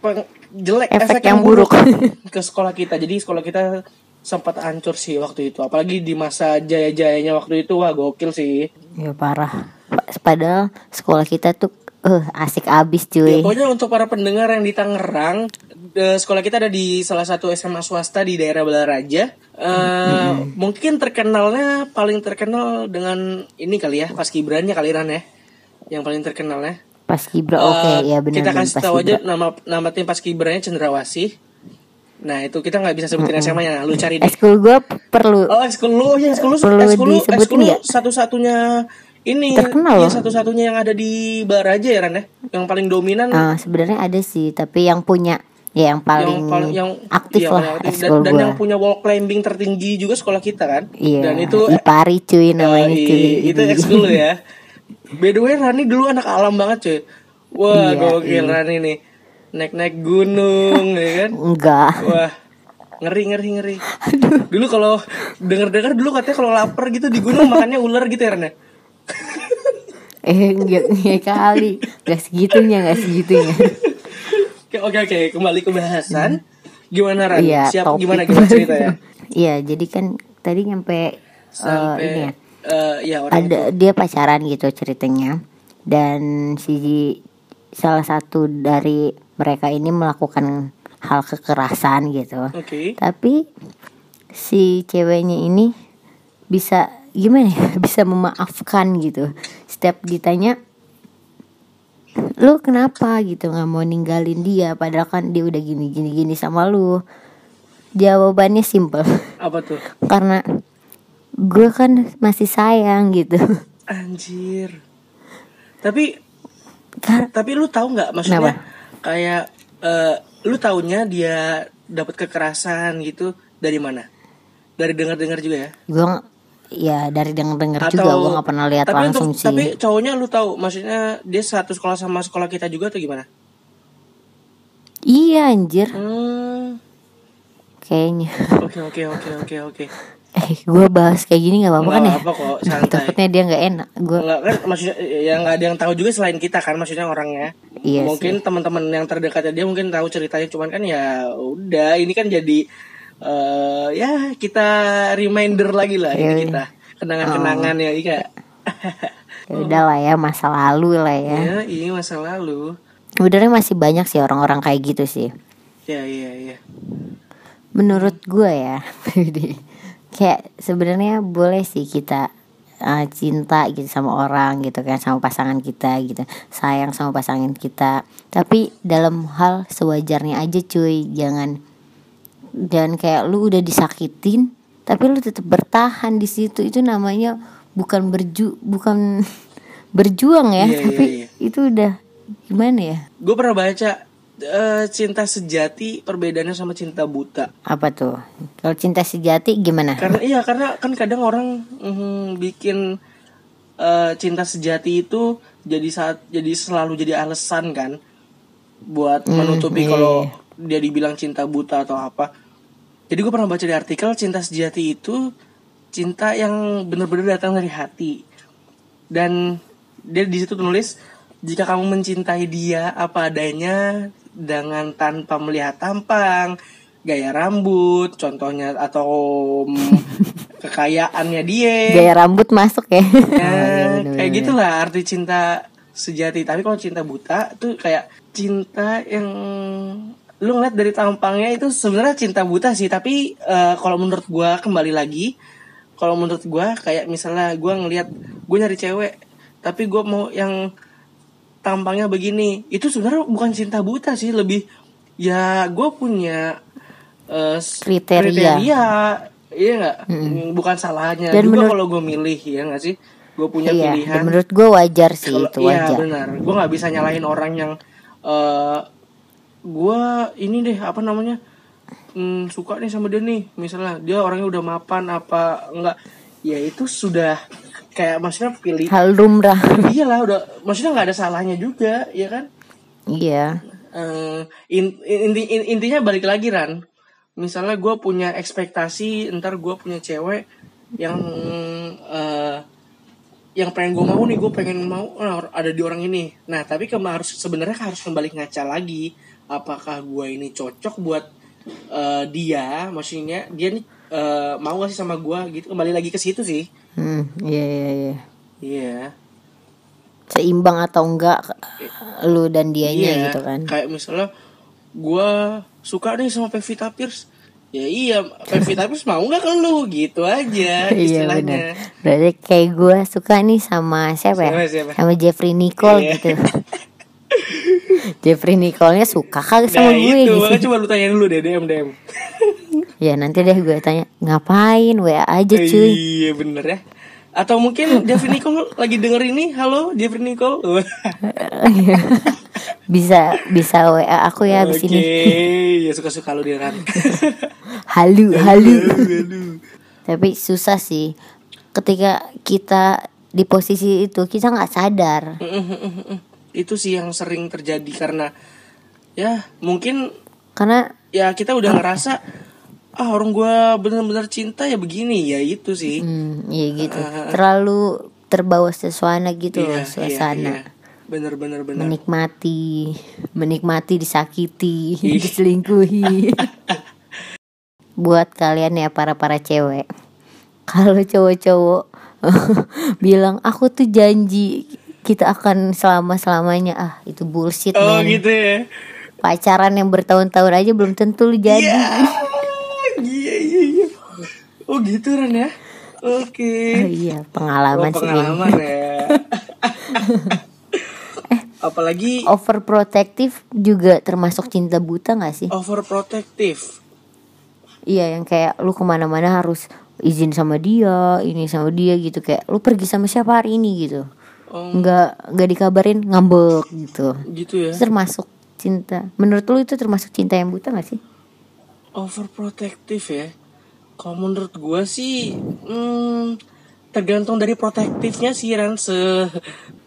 [SPEAKER 3] peng- jelek efek, yang, buruk <laughs> ke sekolah kita jadi sekolah kita sempat hancur sih waktu itu apalagi di masa jaya-jayanya waktu itu wah gokil sih
[SPEAKER 1] <laughs> Ya parah. Pa- Padahal sekolah kita tuh eh asik abis cuy.
[SPEAKER 3] Ya, pokoknya untuk para pendengar yang di Tangerang eh, sekolah kita ada di salah satu SMA swasta di daerah Balaraja Eh, mungkin terkenalnya paling terkenal dengan ini kali ya pas kibrannya kali Ran ya yang paling terkenalnya
[SPEAKER 1] Pas kibra
[SPEAKER 3] Eh,
[SPEAKER 1] oke ya benar
[SPEAKER 3] kita
[SPEAKER 1] benar
[SPEAKER 3] kasih
[SPEAKER 1] pas
[SPEAKER 3] tahu aja
[SPEAKER 1] kibra.
[SPEAKER 3] nama nama tim paskibranya Cendrawasih nah itu kita nggak bisa sebutin SMA nya lu cari deh
[SPEAKER 1] Eskul gue perlu
[SPEAKER 3] oh ekskul lu ya ekskul lu
[SPEAKER 1] Perlu
[SPEAKER 3] ekskul lu
[SPEAKER 1] disebutin
[SPEAKER 3] ekskul lu
[SPEAKER 1] nggak?
[SPEAKER 3] satu-satunya ini
[SPEAKER 1] Terkenal
[SPEAKER 3] ya
[SPEAKER 1] loh.
[SPEAKER 3] satu-satunya yang ada di Baraja ya Ran ya yang paling dominan
[SPEAKER 1] eh, sebenarnya ada sih tapi yang punya ya yang paling, aktif
[SPEAKER 3] iya,
[SPEAKER 1] lah
[SPEAKER 3] paling aktif. dan,
[SPEAKER 1] eskul
[SPEAKER 3] dan
[SPEAKER 1] gue.
[SPEAKER 3] yang punya wall climbing tertinggi juga sekolah kita kan
[SPEAKER 1] Iya.
[SPEAKER 3] dan itu
[SPEAKER 1] Ipari cuy namanya
[SPEAKER 3] Yoi,
[SPEAKER 1] cuy.
[SPEAKER 3] itu ekskul lu ya. By the way Rani dulu anak alam banget cuy. Wah,
[SPEAKER 1] Iya,
[SPEAKER 3] gokil Rani nih. Naik-naik gunung ya kan.
[SPEAKER 1] Enggak.
[SPEAKER 3] Wah. Ngeri ngeri ngeri. Dulu kalau denger-dengar dulu katanya kalau lapar gitu di gunung makannya ular gitu ya Rani.
[SPEAKER 1] Eh enggak enggak kali. Gak segitunya gak segitunya.
[SPEAKER 3] Oke oke oke, kembali ke bahasan. Gimana Rani?
[SPEAKER 1] Iya.
[SPEAKER 3] Siap
[SPEAKER 1] topik.
[SPEAKER 3] gimana
[SPEAKER 1] <laughs>
[SPEAKER 3] gimana ya? ceritanya?
[SPEAKER 1] Iya jadi kan tadi nyampe eh,
[SPEAKER 3] Sampai
[SPEAKER 1] ini ya.
[SPEAKER 3] eh, ya orang
[SPEAKER 1] ada dia pacaran gitu ceritanya dan si salah satu dari mereka ini melakukan hal kekerasan gitu.
[SPEAKER 3] Oke.
[SPEAKER 1] Tapi si ceweknya ini bisa gimana ya? <laughs> Bisa memaafkan gitu. Setiap ditanya lu kenapa gitu nggak mau ninggalin dia padahal kan dia udah gini gini gini sama lu jawabannya simple <laughs>
[SPEAKER 3] Apa tuh?
[SPEAKER 1] karena gue kan masih sayang gitu <laughs>
[SPEAKER 3] Anjir. Tapi
[SPEAKER 1] Kar-
[SPEAKER 3] tapi lu tahu nggak maksudnya kayak eh, lu taunya dia dapat kekerasan gitu dari mana? Dari dengar-dengar juga ya?
[SPEAKER 1] gue ng- ya dari denger dengar juga gue nggak pernah lihat
[SPEAKER 3] tapi untuk-
[SPEAKER 1] langsung sih
[SPEAKER 3] Tapi cowoknya lu tahu maksudnya dia satu sekolah sama sekolah kita juga atau gimana?
[SPEAKER 1] iya anjir
[SPEAKER 3] Hmm.
[SPEAKER 1] kayaknya <laughs>
[SPEAKER 3] Oke oke oke oke oke.
[SPEAKER 1] eh gue bahas kayak gini nggak apa-apa kan ya
[SPEAKER 3] Nggak apa-apa kok, santai.
[SPEAKER 1] takutnya dia nggak enak gue
[SPEAKER 3] Enggak kan maksudnya yang nggak ada yang tahu juga selain kita kan maksudnya orangnya.
[SPEAKER 1] Iya
[SPEAKER 3] mungkin teman-teman yang terdekatnya dia mungkin tahu ceritanya cuman kan ya udah ini kan jadi eh ya kita reminder lagi lah ini
[SPEAKER 1] Iya. Oh.
[SPEAKER 3] kita kenangan-kenangan ya iya
[SPEAKER 1] ya udah lah ya masa lalu lah <laughs> ya
[SPEAKER 3] ya ini masa lalu.
[SPEAKER 1] sebenarnya masih banyak sih orang-orang kayak gitu sih
[SPEAKER 3] Ya iya iya.
[SPEAKER 1] menurut gue ya <laughs> kayak sebenarnya boleh sih kita eh, cinta gitu sama orang gitu kan sama pasangan kita gitu sayang sama pasangan kita tapi dalam hal sewajarnya aja cuy jangan dan kayak lu udah disakitin tapi lu tetap bertahan di situ itu namanya bukan berju bukan <laughs> berjuang ya
[SPEAKER 3] Iya, iya,
[SPEAKER 1] tapi
[SPEAKER 3] iya.
[SPEAKER 1] itu udah gimana ya
[SPEAKER 3] Gue pernah baca eh, cinta sejati perbedaannya sama cinta buta.
[SPEAKER 1] apa tuh kalau cinta sejati gimana
[SPEAKER 3] karena iya karena kan kadang orang mm, bikin eh, cinta sejati itu jadi saat jadi selalu jadi alasan kan buat menutupi kalau dia dibilang cinta buta atau apa jadi gue pernah baca di artikel cinta sejati itu cinta yang benar-benar datang dari hati dan dia di situ nulis jika kamu mencintai dia apa adanya dengan tanpa melihat tampang gaya rambut contohnya atau mm, <laughs> kekayaannya dia
[SPEAKER 1] gaya rambut masuk ya. <laughs>
[SPEAKER 3] Ya, kayak gitulah arti cinta sejati tapi kalau cinta buta tuh kayak cinta yang lu ngeliat dari tampangnya itu sebenarnya cinta buta sih tapi eh, kalau menurut gua kembali lagi kalau menurut gua kayak misalnya gua ngeliat gue nyari cewek tapi gua mau yang tampangnya begini itu sebenarnya bukan cinta buta sih lebih ya gue punya eh, s-
[SPEAKER 1] Kriteria.
[SPEAKER 3] kriteria iya nggak bukan salahnya
[SPEAKER 1] Dan
[SPEAKER 3] juga
[SPEAKER 1] menurut-
[SPEAKER 3] kalau gue milih ya nggak sih gue punya
[SPEAKER 1] Iya, dan
[SPEAKER 3] pilihan
[SPEAKER 1] menurut gue wajar sih
[SPEAKER 3] Kalau-
[SPEAKER 1] itu
[SPEAKER 3] iya
[SPEAKER 1] wajar.
[SPEAKER 3] benar gue nggak bisa nyalahin orang yang eh gue ini deh apa namanya hmm, suka nih sama dia nih misalnya dia orangnya udah mapan apa enggak ya itu sudah kayak maksudnya pilih
[SPEAKER 1] Hal lumrah.
[SPEAKER 3] dia lah udah maksudnya nggak ada salahnya juga ya kan
[SPEAKER 1] iya.
[SPEAKER 3] Eh, in- inti- in- intinya balik lagi Ran misalnya gue punya ekspektasi ntar gue punya cewek yang eh, yang pengen gue mau nih gue pengen mau oh, ada di orang ini nah tapi kem harus sebenarnya harus kembali ngaca lagi apakah gue ini cocok buat eh, dia maksudnya dia nih eh, mau gak sih sama gue gitu kembali lagi ke situ sih
[SPEAKER 1] Hmm, iya iya iya.
[SPEAKER 3] iya
[SPEAKER 1] Seimbang atau enggak lu dan dianya gitu kan.
[SPEAKER 3] Iya, Kayak misalnya gue suka nih sama Pevita Pierce. Ya iya, Pevita Pierce mau nggak ke lu gitu aja
[SPEAKER 1] <laughs> <laughs> Iya benar.
[SPEAKER 3] istilahnya.
[SPEAKER 1] Berarti kayak gue suka nih sama siapa ya?
[SPEAKER 3] Sama siapa?
[SPEAKER 1] Sama Jeffrey Nicole
[SPEAKER 3] Iya.
[SPEAKER 1] gitu. <laughs> Jeffrey Nicole-nya suka kagak sama
[SPEAKER 3] nah
[SPEAKER 1] gue
[SPEAKER 3] itu,
[SPEAKER 1] gitu.
[SPEAKER 3] makanya coba lu tanya dulu deh DM DM.
[SPEAKER 1] Ya nanti deh gue tanya ngapain WA aja cuy.
[SPEAKER 3] Iya bener ya. Atau
[SPEAKER 1] <laughs>
[SPEAKER 3] mungkin Jeffrey Nicole lagi denger ini, halo Jeffrey Nicole. <laughs>
[SPEAKER 1] bisa bisa WA aku ya abis
[SPEAKER 3] Oke,
[SPEAKER 1] ini.
[SPEAKER 3] <laughs> ya suka-suka lu
[SPEAKER 1] <laughs>
[SPEAKER 3] diran.
[SPEAKER 1] Halu halu. <laughs> Tapi susah sih ketika kita di posisi itu kita nggak sadar.
[SPEAKER 3] <laughs> itu sih yang sering terjadi karena ya mungkin
[SPEAKER 1] Karena
[SPEAKER 3] ya kita udah ngerasa ah orang gue bener-bener cinta ya begini ya itu sih
[SPEAKER 1] hmm, ya gitu. Terlalu terbawa suasana gitu loh,
[SPEAKER 3] Iya,
[SPEAKER 1] suasana.
[SPEAKER 3] iya, iya. bener bener bener
[SPEAKER 1] Menikmati, menikmati disakiti,
[SPEAKER 3] Iya.
[SPEAKER 1] <laughs> diselingkuhi. Buat kalian ya para-para cewek. <laughs> Kalau cowok-cowok bilang aku tuh janji kita akan selama selamanya ah itu bullshit
[SPEAKER 3] Oh
[SPEAKER 1] men.
[SPEAKER 3] gitu ya.
[SPEAKER 1] pacaran yang bertahun-tahun aja belum tentu lu jadi
[SPEAKER 3] Iya. Iya iya iya. Oh gitu Ran ya.
[SPEAKER 1] Oh,
[SPEAKER 3] Oke.
[SPEAKER 1] <laughs> iya
[SPEAKER 3] Oh,
[SPEAKER 1] pengalaman, sih
[SPEAKER 3] pengalaman
[SPEAKER 1] <laughs>
[SPEAKER 3] ya.
[SPEAKER 1] ini.
[SPEAKER 3] Apalagi
[SPEAKER 1] overprotective juga termasuk cinta buta gak
[SPEAKER 3] Oh.
[SPEAKER 1] sih
[SPEAKER 3] overprotective.
[SPEAKER 1] Iya yang kayak lu kemana-mana harus izin sama dia, ini sama dia gitu kayak lu pergi sama siapa hari ini gitu,
[SPEAKER 3] Oh,
[SPEAKER 1] nggak nggak dikabarin ngambek gitu.
[SPEAKER 3] gitu ya.
[SPEAKER 1] Itu termasuk cinta. Menurut lu itu termasuk cinta yang buta gak sih?
[SPEAKER 3] Overprotective ya. Kalau menurut gua sih hmm, tergantung dari protektifnya sih Ran. Se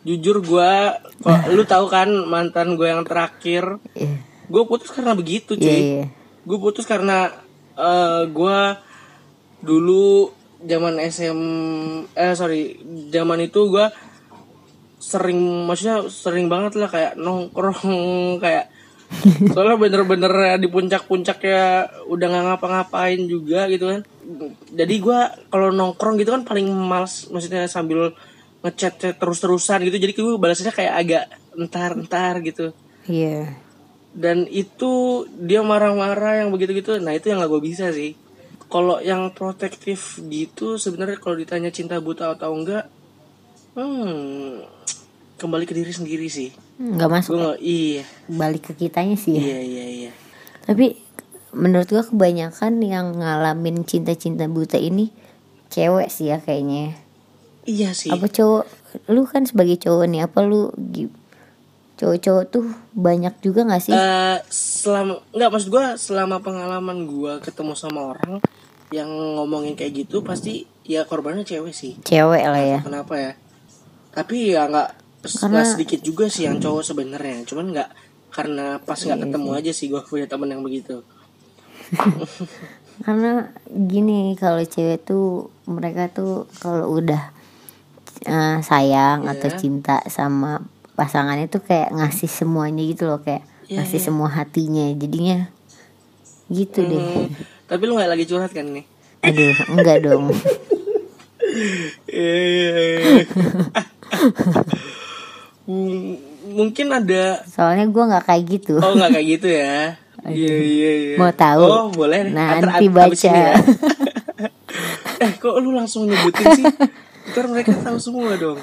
[SPEAKER 3] jujur gua kok lu tahu kan mantan gua yang terakhir,
[SPEAKER 1] Iya.
[SPEAKER 3] gua putus karena begitu, cuy.
[SPEAKER 1] Iya. iya.
[SPEAKER 3] Gue putus karena eh, gua dulu zaman SM eh sorry, zaman itu gua sering maksudnya sering banget lah kayak nongkrong <laughs> kayak soalnya bener-bener ya di puncak-puncaknya udah nggak ngapa-ngapain juga gitu kan jadi gua kalau nongkrong gitu kan paling males maksudnya sambil ngechat chat terus-terusan gitu jadi gue balasannya kayak agak entar-entar gitu
[SPEAKER 1] Iya.
[SPEAKER 3] dan itu dia marah-marah yang begitu-gitu nah itu yang gak gue bisa sih kalau yang protektif gitu sebenarnya kalau ditanya cinta buta atau enggak hmm kembali ke diri sendiri sih
[SPEAKER 1] Nggak masuk
[SPEAKER 3] gue nggak iya
[SPEAKER 1] balik ke kitanya sih. ya.
[SPEAKER 3] iya iya iya
[SPEAKER 1] Tapi menurut gua kebanyakan yang ngalamin cinta-cinta buta ini cewek sih ya kayaknya.
[SPEAKER 3] iya sih
[SPEAKER 1] apa cowok lu kan sebagai cowok nih apa lu gi- cowok-cowok tuh banyak juga nggak sih
[SPEAKER 3] Eh, selama nggak maksud gue selama pengalaman gue ketemu sama orang yang ngomongin kayak gitu pasti ya korbannya cewek sih
[SPEAKER 1] cewek lah ya
[SPEAKER 3] kenapa ya tapi ya nggak nggak sedikit juga sih yang cowok sebenarnya cuman nggak karena pas nggak
[SPEAKER 1] Iya,
[SPEAKER 3] ketemu aja sih gue punya temen yang begitu
[SPEAKER 1] karena gini kalau cewek tuh mereka tuh kalau udah eh, sayang atau
[SPEAKER 3] Iya.
[SPEAKER 1] cinta sama pasangannya tuh kayak ngasih semuanya gitu loh kayak
[SPEAKER 3] Iya,
[SPEAKER 1] ngasih semua hatinya jadinya gitu
[SPEAKER 3] Mm-hmm.
[SPEAKER 1] deh
[SPEAKER 3] Hmm, tapi lu nggak lagi curhat kan nih
[SPEAKER 1] aduh enggak dong
[SPEAKER 3] Iya, <laughs> M- Hmm, mungkin ada
[SPEAKER 1] soalnya gua nggak kayak gitu
[SPEAKER 3] oh nggak kayak gitu ya iya iya iya
[SPEAKER 1] Mau tahu?
[SPEAKER 3] oh boleh deh.
[SPEAKER 1] Nanti
[SPEAKER 3] Ntar ab-
[SPEAKER 1] baca.
[SPEAKER 3] abis ini ya. <laughs> eh kok lu langsung nyebutin sih ntar mereka tahu semua dong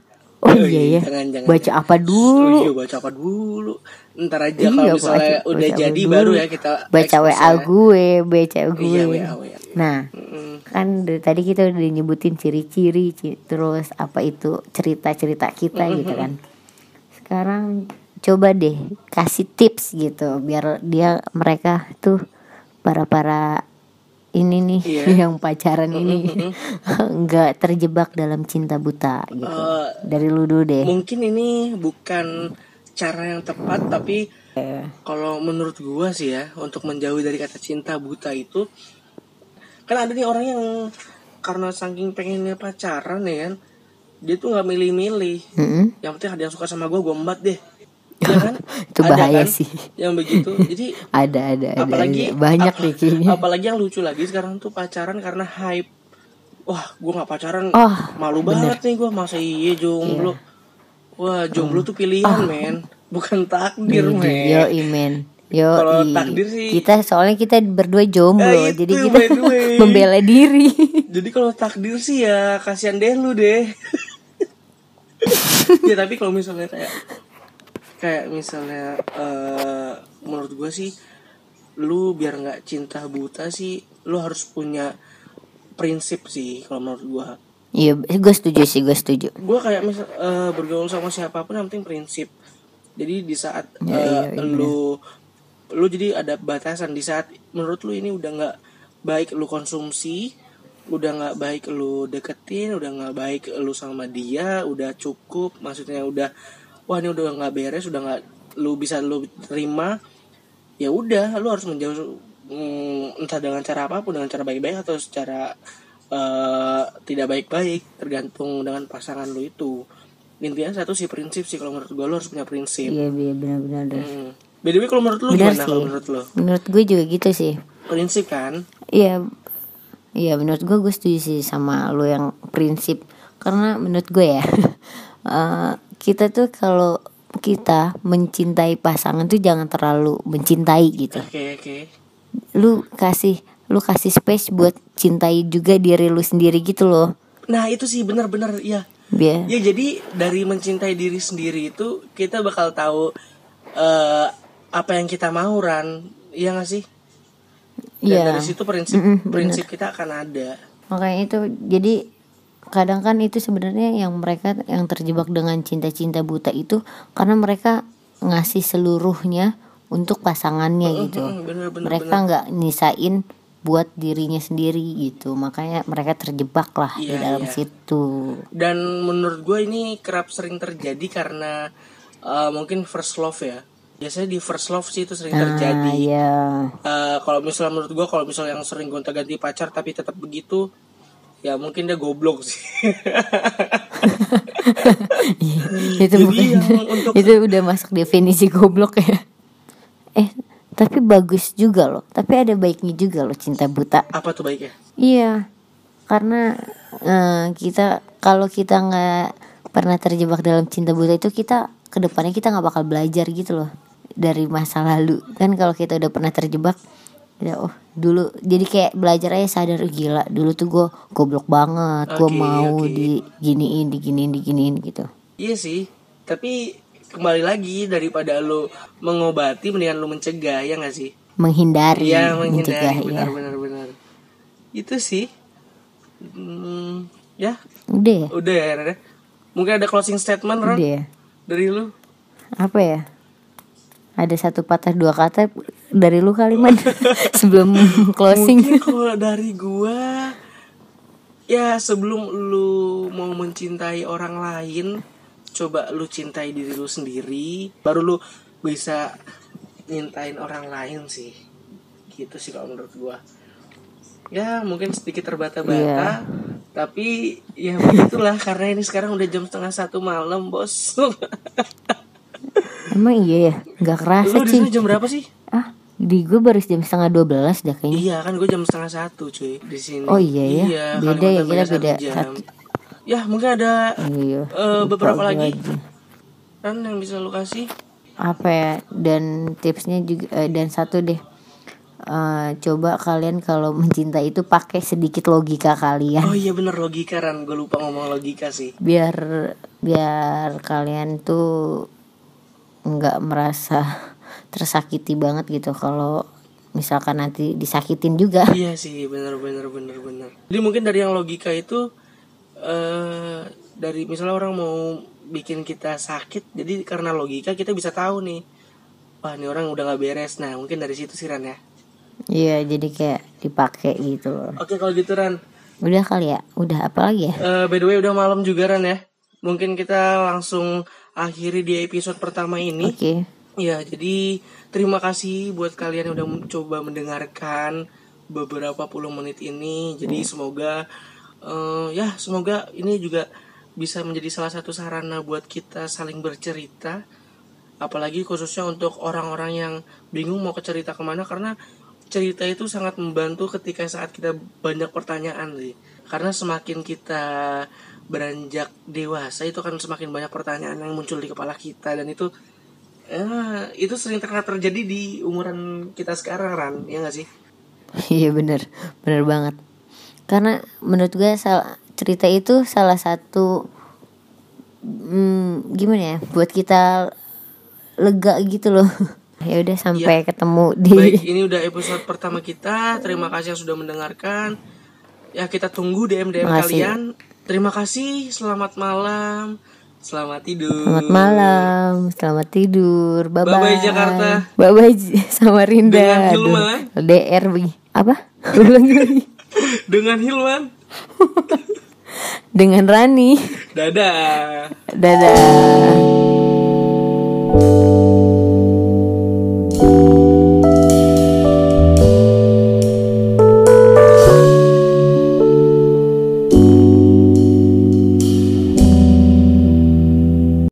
[SPEAKER 1] <laughs> oh
[SPEAKER 3] Yoi,
[SPEAKER 1] iya ya
[SPEAKER 3] jangan, jangan,
[SPEAKER 1] baca
[SPEAKER 3] jangan.
[SPEAKER 1] apa dulu
[SPEAKER 3] Oh iya baca apa dulu Ntar aja
[SPEAKER 1] Iya,
[SPEAKER 3] kalau
[SPEAKER 1] baca-
[SPEAKER 3] misalnya
[SPEAKER 1] baca
[SPEAKER 3] udah
[SPEAKER 1] apa
[SPEAKER 3] jadi
[SPEAKER 1] dulu.
[SPEAKER 3] baru ya kita
[SPEAKER 1] baca
[SPEAKER 3] expose
[SPEAKER 1] WA
[SPEAKER 3] ya.
[SPEAKER 1] gue, baca gue.
[SPEAKER 3] Iya WA WA
[SPEAKER 1] Nah,
[SPEAKER 3] Mm. Hmm. Eh,
[SPEAKER 1] kan dari tadi kita udah nyebutin ciri-ciri, ci- terus apa itu cerita-cerita kita
[SPEAKER 3] Hmm,
[SPEAKER 1] gitu kan. Sekarang coba deh kasih tips gitu biar dia mereka tuh para-para ini nih
[SPEAKER 3] Iya.
[SPEAKER 1] <laughs>
[SPEAKER 3] hmm,
[SPEAKER 1] yang pacaran ini <laughs> nggak terjebak dalam cinta buta gitu.
[SPEAKER 3] Eh,
[SPEAKER 1] dari lu dulu deh.
[SPEAKER 3] Mungkin ini bukan cara yang tepat tapi kalau menurut gua sih ya untuk menjauhi dari kata cinta buta itu kan ada nih orang yang karena saking pengennya pacaran ya kan dia tuh nggak milih-milih
[SPEAKER 1] Mm-mm.
[SPEAKER 3] yang penting ada yang suka sama gua gua embat deh Iya kan?
[SPEAKER 1] <laughs> Itu
[SPEAKER 3] Ada
[SPEAKER 1] bahaya
[SPEAKER 3] kan?
[SPEAKER 1] sih.
[SPEAKER 3] Yang
[SPEAKER 1] <laughs>
[SPEAKER 3] begitu. Jadi
[SPEAKER 1] Ada ada ada, ada. iya,
[SPEAKER 3] apalagi
[SPEAKER 1] banyak
[SPEAKER 3] apa-
[SPEAKER 1] nih kayaknya.
[SPEAKER 3] apalagi yang lucu lagi sekarang tuh pacaran karena hype wah gue nggak pacaran
[SPEAKER 1] Oh,
[SPEAKER 3] malu banget nih gue masa iya jomblo
[SPEAKER 1] Iya.
[SPEAKER 3] wah jomblo tuh pilihan
[SPEAKER 1] Oh.
[SPEAKER 3] men bukan takdir men
[SPEAKER 1] Yo imen. Yo
[SPEAKER 3] ya? Kalau takdir sih-
[SPEAKER 1] kita soalnya kita berdua jomblo,
[SPEAKER 3] Eh, itu
[SPEAKER 1] jadi kita
[SPEAKER 3] by the way.
[SPEAKER 1] <laughs> membela diri. <laughs>
[SPEAKER 3] jadi kalau takdir sih ya kasihan deh lu deh <laughs> ya tapi kalau misalnya kayak kayak misalnya eh, menurut gue sih lu biar nggak cinta buta sih lu harus punya prinsip sih kalau menurut gue
[SPEAKER 1] Iya, gue setuju sih, gue setuju.
[SPEAKER 3] gue kayak misal eh, bergaul sama siapapun yang penting prinsip jadi di saat
[SPEAKER 1] Ya,
[SPEAKER 3] eh,
[SPEAKER 1] iya, iya,
[SPEAKER 3] lu lu jadi ada batasan di saat menurut lu ini udah nggak baik lu konsumsi udah nggak baik lu deketin udah nggak baik lu sama dia udah cukup maksudnya udah wah ini udah nggak beres udah nggak lu bisa lu terima ya udah lu harus menjauh mm, entah dengan cara apapun dengan cara baik-baik atau secara eh, tidak baik-baik tergantung dengan pasangan lu itu intinya satu sih prinsip sih kalau menurut gue lu harus punya prinsip
[SPEAKER 1] Iya, iya benar-benar. deh.
[SPEAKER 3] hmm. btw kalau menurut lu
[SPEAKER 1] Benar
[SPEAKER 3] gimana
[SPEAKER 1] sih.
[SPEAKER 3] kalau menurut lu
[SPEAKER 1] Menurut gue juga gitu sih.
[SPEAKER 3] prinsip kan
[SPEAKER 1] Iya, iya menurut gue gue setuju sih sama lu yang prinsip karena menurut gue ya <laughs> eh, kita tuh kalau kita mencintai pasangan tuh jangan terlalu mencintai gitu
[SPEAKER 3] Oke oke.
[SPEAKER 1] lu kasih lu kasih space buat cintai juga diri lu sendiri gitu loh
[SPEAKER 3] Nah itu sih benar-benar ya.
[SPEAKER 1] biar
[SPEAKER 3] Ya jadi dari mencintai diri sendiri itu kita bakal tahu eh, apa yang kita mau Ran. Iya nggak sih? Dan
[SPEAKER 1] Iya.
[SPEAKER 3] dari situ prinsip
[SPEAKER 1] Mm-mm, bener.
[SPEAKER 3] prinsip kita akan ada.
[SPEAKER 1] makanya itu jadi kadang kan itu sebenarnya yang mereka yang terjebak dengan cinta-cinta buta itu karena mereka ngasih seluruhnya untuk pasangannya gitu
[SPEAKER 3] Mm, Bener bener
[SPEAKER 1] mereka nggak nisain buat dirinya sendiri gitu makanya mereka terjebak lah di
[SPEAKER 3] Iya,
[SPEAKER 1] dalam
[SPEAKER 3] iya.
[SPEAKER 1] situ
[SPEAKER 3] Dan menurut gue ini kerap sering terjadi karena eh, mungkin first love ya. Biasanya di first love sih itu sering
[SPEAKER 1] nah
[SPEAKER 3] terjadi.
[SPEAKER 1] ya
[SPEAKER 3] Eh, kalau misalnya menurut gue kalau misalnya yang sering gonta ganti pacar tapi tetap begitu ya mungkin dia goblok sih <laughs>
[SPEAKER 1] Iya. itu
[SPEAKER 3] Eh, Jadi
[SPEAKER 1] <laughs> bukan
[SPEAKER 3] yang untuk-
[SPEAKER 1] itu udah masuk definisi goblok ya eh tapi bagus juga loh tapi ada baiknya juga loh cinta buta
[SPEAKER 3] apa tuh baiknya
[SPEAKER 1] Iya, karena eh, kita kalau kita nggak pernah terjebak dalam cinta buta itu kita kedepannya kita nggak bakal belajar gitu loh dari masa lalu kan kalau kita udah pernah terjebak ya oh dulu jadi kayak belajar aja sadar "Oh, gila dulu tuh gue goblok banget gue
[SPEAKER 3] Oke,
[SPEAKER 1] mau
[SPEAKER 3] oke.
[SPEAKER 1] diginiin diginiin diginiin gitu
[SPEAKER 3] iya sih tapi kembali lagi daripada lo mengobati mendingan lo mencegah ya nggak sih
[SPEAKER 1] menghindari
[SPEAKER 3] Iya
[SPEAKER 1] mencegah, iya.
[SPEAKER 3] menghindari benar benar benar itu sih Hmm, ya
[SPEAKER 1] udah ya
[SPEAKER 3] udah ya Ren, ya. mungkin ada closing statement Ron
[SPEAKER 1] udah ya
[SPEAKER 3] dari lu
[SPEAKER 1] apa ya ada satu patah dua kata dari lu kali Man. <laughs> sebelum closing
[SPEAKER 3] Mungkin kalau dari gua ya sebelum lu mau mencintai orang lain, coba lu cintai diri lu sendiri, baru lu bisa nyintain orang lain sih. Gitu sih kalau menurut gua. Ya, mungkin sedikit terbata-bata, tapi ya begitulah karena ini sekarang udah jam setengah satu malam, Bos. <laughs>
[SPEAKER 1] emang iya ya nggak kerasa
[SPEAKER 3] lu di
[SPEAKER 1] sih
[SPEAKER 3] sini jam berapa sih?
[SPEAKER 1] ah di gue baru jam setengah dua belas dah kayaknya
[SPEAKER 3] Iya kan gue jam setengah satu cuy di sini.
[SPEAKER 1] Oh, iya ya. Beda
[SPEAKER 3] Kalimantan
[SPEAKER 1] ya, kita
[SPEAKER 3] beda satu
[SPEAKER 1] beda.
[SPEAKER 3] jam.
[SPEAKER 1] Satu.
[SPEAKER 3] Ya mungkin ada
[SPEAKER 1] iya
[SPEAKER 3] eh,
[SPEAKER 1] lupa
[SPEAKER 3] beberapa
[SPEAKER 1] gua
[SPEAKER 3] lagi kan yang bisa lu kasih.
[SPEAKER 1] apa ya dan tipsnya juga eh, dan satu deh Eh, coba kalian kalau mencinta itu pakai sedikit logika kalian
[SPEAKER 3] Oh iya bener logika Ran gue lupa ngomong logika sih.
[SPEAKER 1] biar biar kalian tuh nggak merasa <laughs> tersakiti banget gitu kalau misalkan nanti disakitin juga <laughs>
[SPEAKER 3] Iya sih bener bener bener bener. Jadi mungkin dari yang logika itu eh dari misalnya orang mau bikin kita sakit, jadi karena logika kita bisa tahu nih. Wah ini orang udah nggak beres. Nah mungkin dari situ sih Ran ya.
[SPEAKER 1] iya jadi kayak dipakai gitu loh
[SPEAKER 3] Oke kalau gitu Ran.
[SPEAKER 1] udah kali ya udah apa lagi ya
[SPEAKER 3] Eh, by the way udah malam juga Ran ya. Mungkin kita langsung akhiri di episode pertama ini.
[SPEAKER 1] oke <laughs>
[SPEAKER 3] Ya, jadi terima kasih buat kalian yang udah mencoba mendengarkan beberapa puluh menit ini. Jadi semoga eh, ya semoga ini juga bisa menjadi salah satu sarana buat kita saling bercerita. Apalagi khususnya untuk orang-orang yang bingung mau ke cerita kemana karena cerita itu sangat membantu ketika saat kita banyak pertanyaan sih. Karena semakin kita beranjak dewasa itu kan semakin banyak pertanyaan yang muncul di kepala kita dan itu Ya, itu sering terkena terjadi di umuran kita sekarang, Ran. Ya nggak sih?
[SPEAKER 1] Iya bener Bener banget Karena menurut gue sal- cerita itu salah satu hmm, Gimana ya Buat kita lega gitu loh <laughs> ya udah sampai ketemu di
[SPEAKER 3] Iya. Baik, ini udah episode pertama kita. Terima kasih yang sudah mendengarkan. Ya, kita tunggu DM-DM
[SPEAKER 1] Makasih.
[SPEAKER 3] kalian. Terima kasih, selamat malam. Selamat tidur.
[SPEAKER 1] Selamat malam, selamat tidur. Bye bye.
[SPEAKER 3] Bye-bye, Jakarta.
[SPEAKER 1] Bye bye sama Rinda.
[SPEAKER 3] Dengan eh. Hilma.
[SPEAKER 1] LDR begi- apa? <laughs> Ulangi lagi.
[SPEAKER 3] <laughs> Dengan Hilman.
[SPEAKER 1] Dengan Rani.
[SPEAKER 3] Dadah.
[SPEAKER 1] Dadah.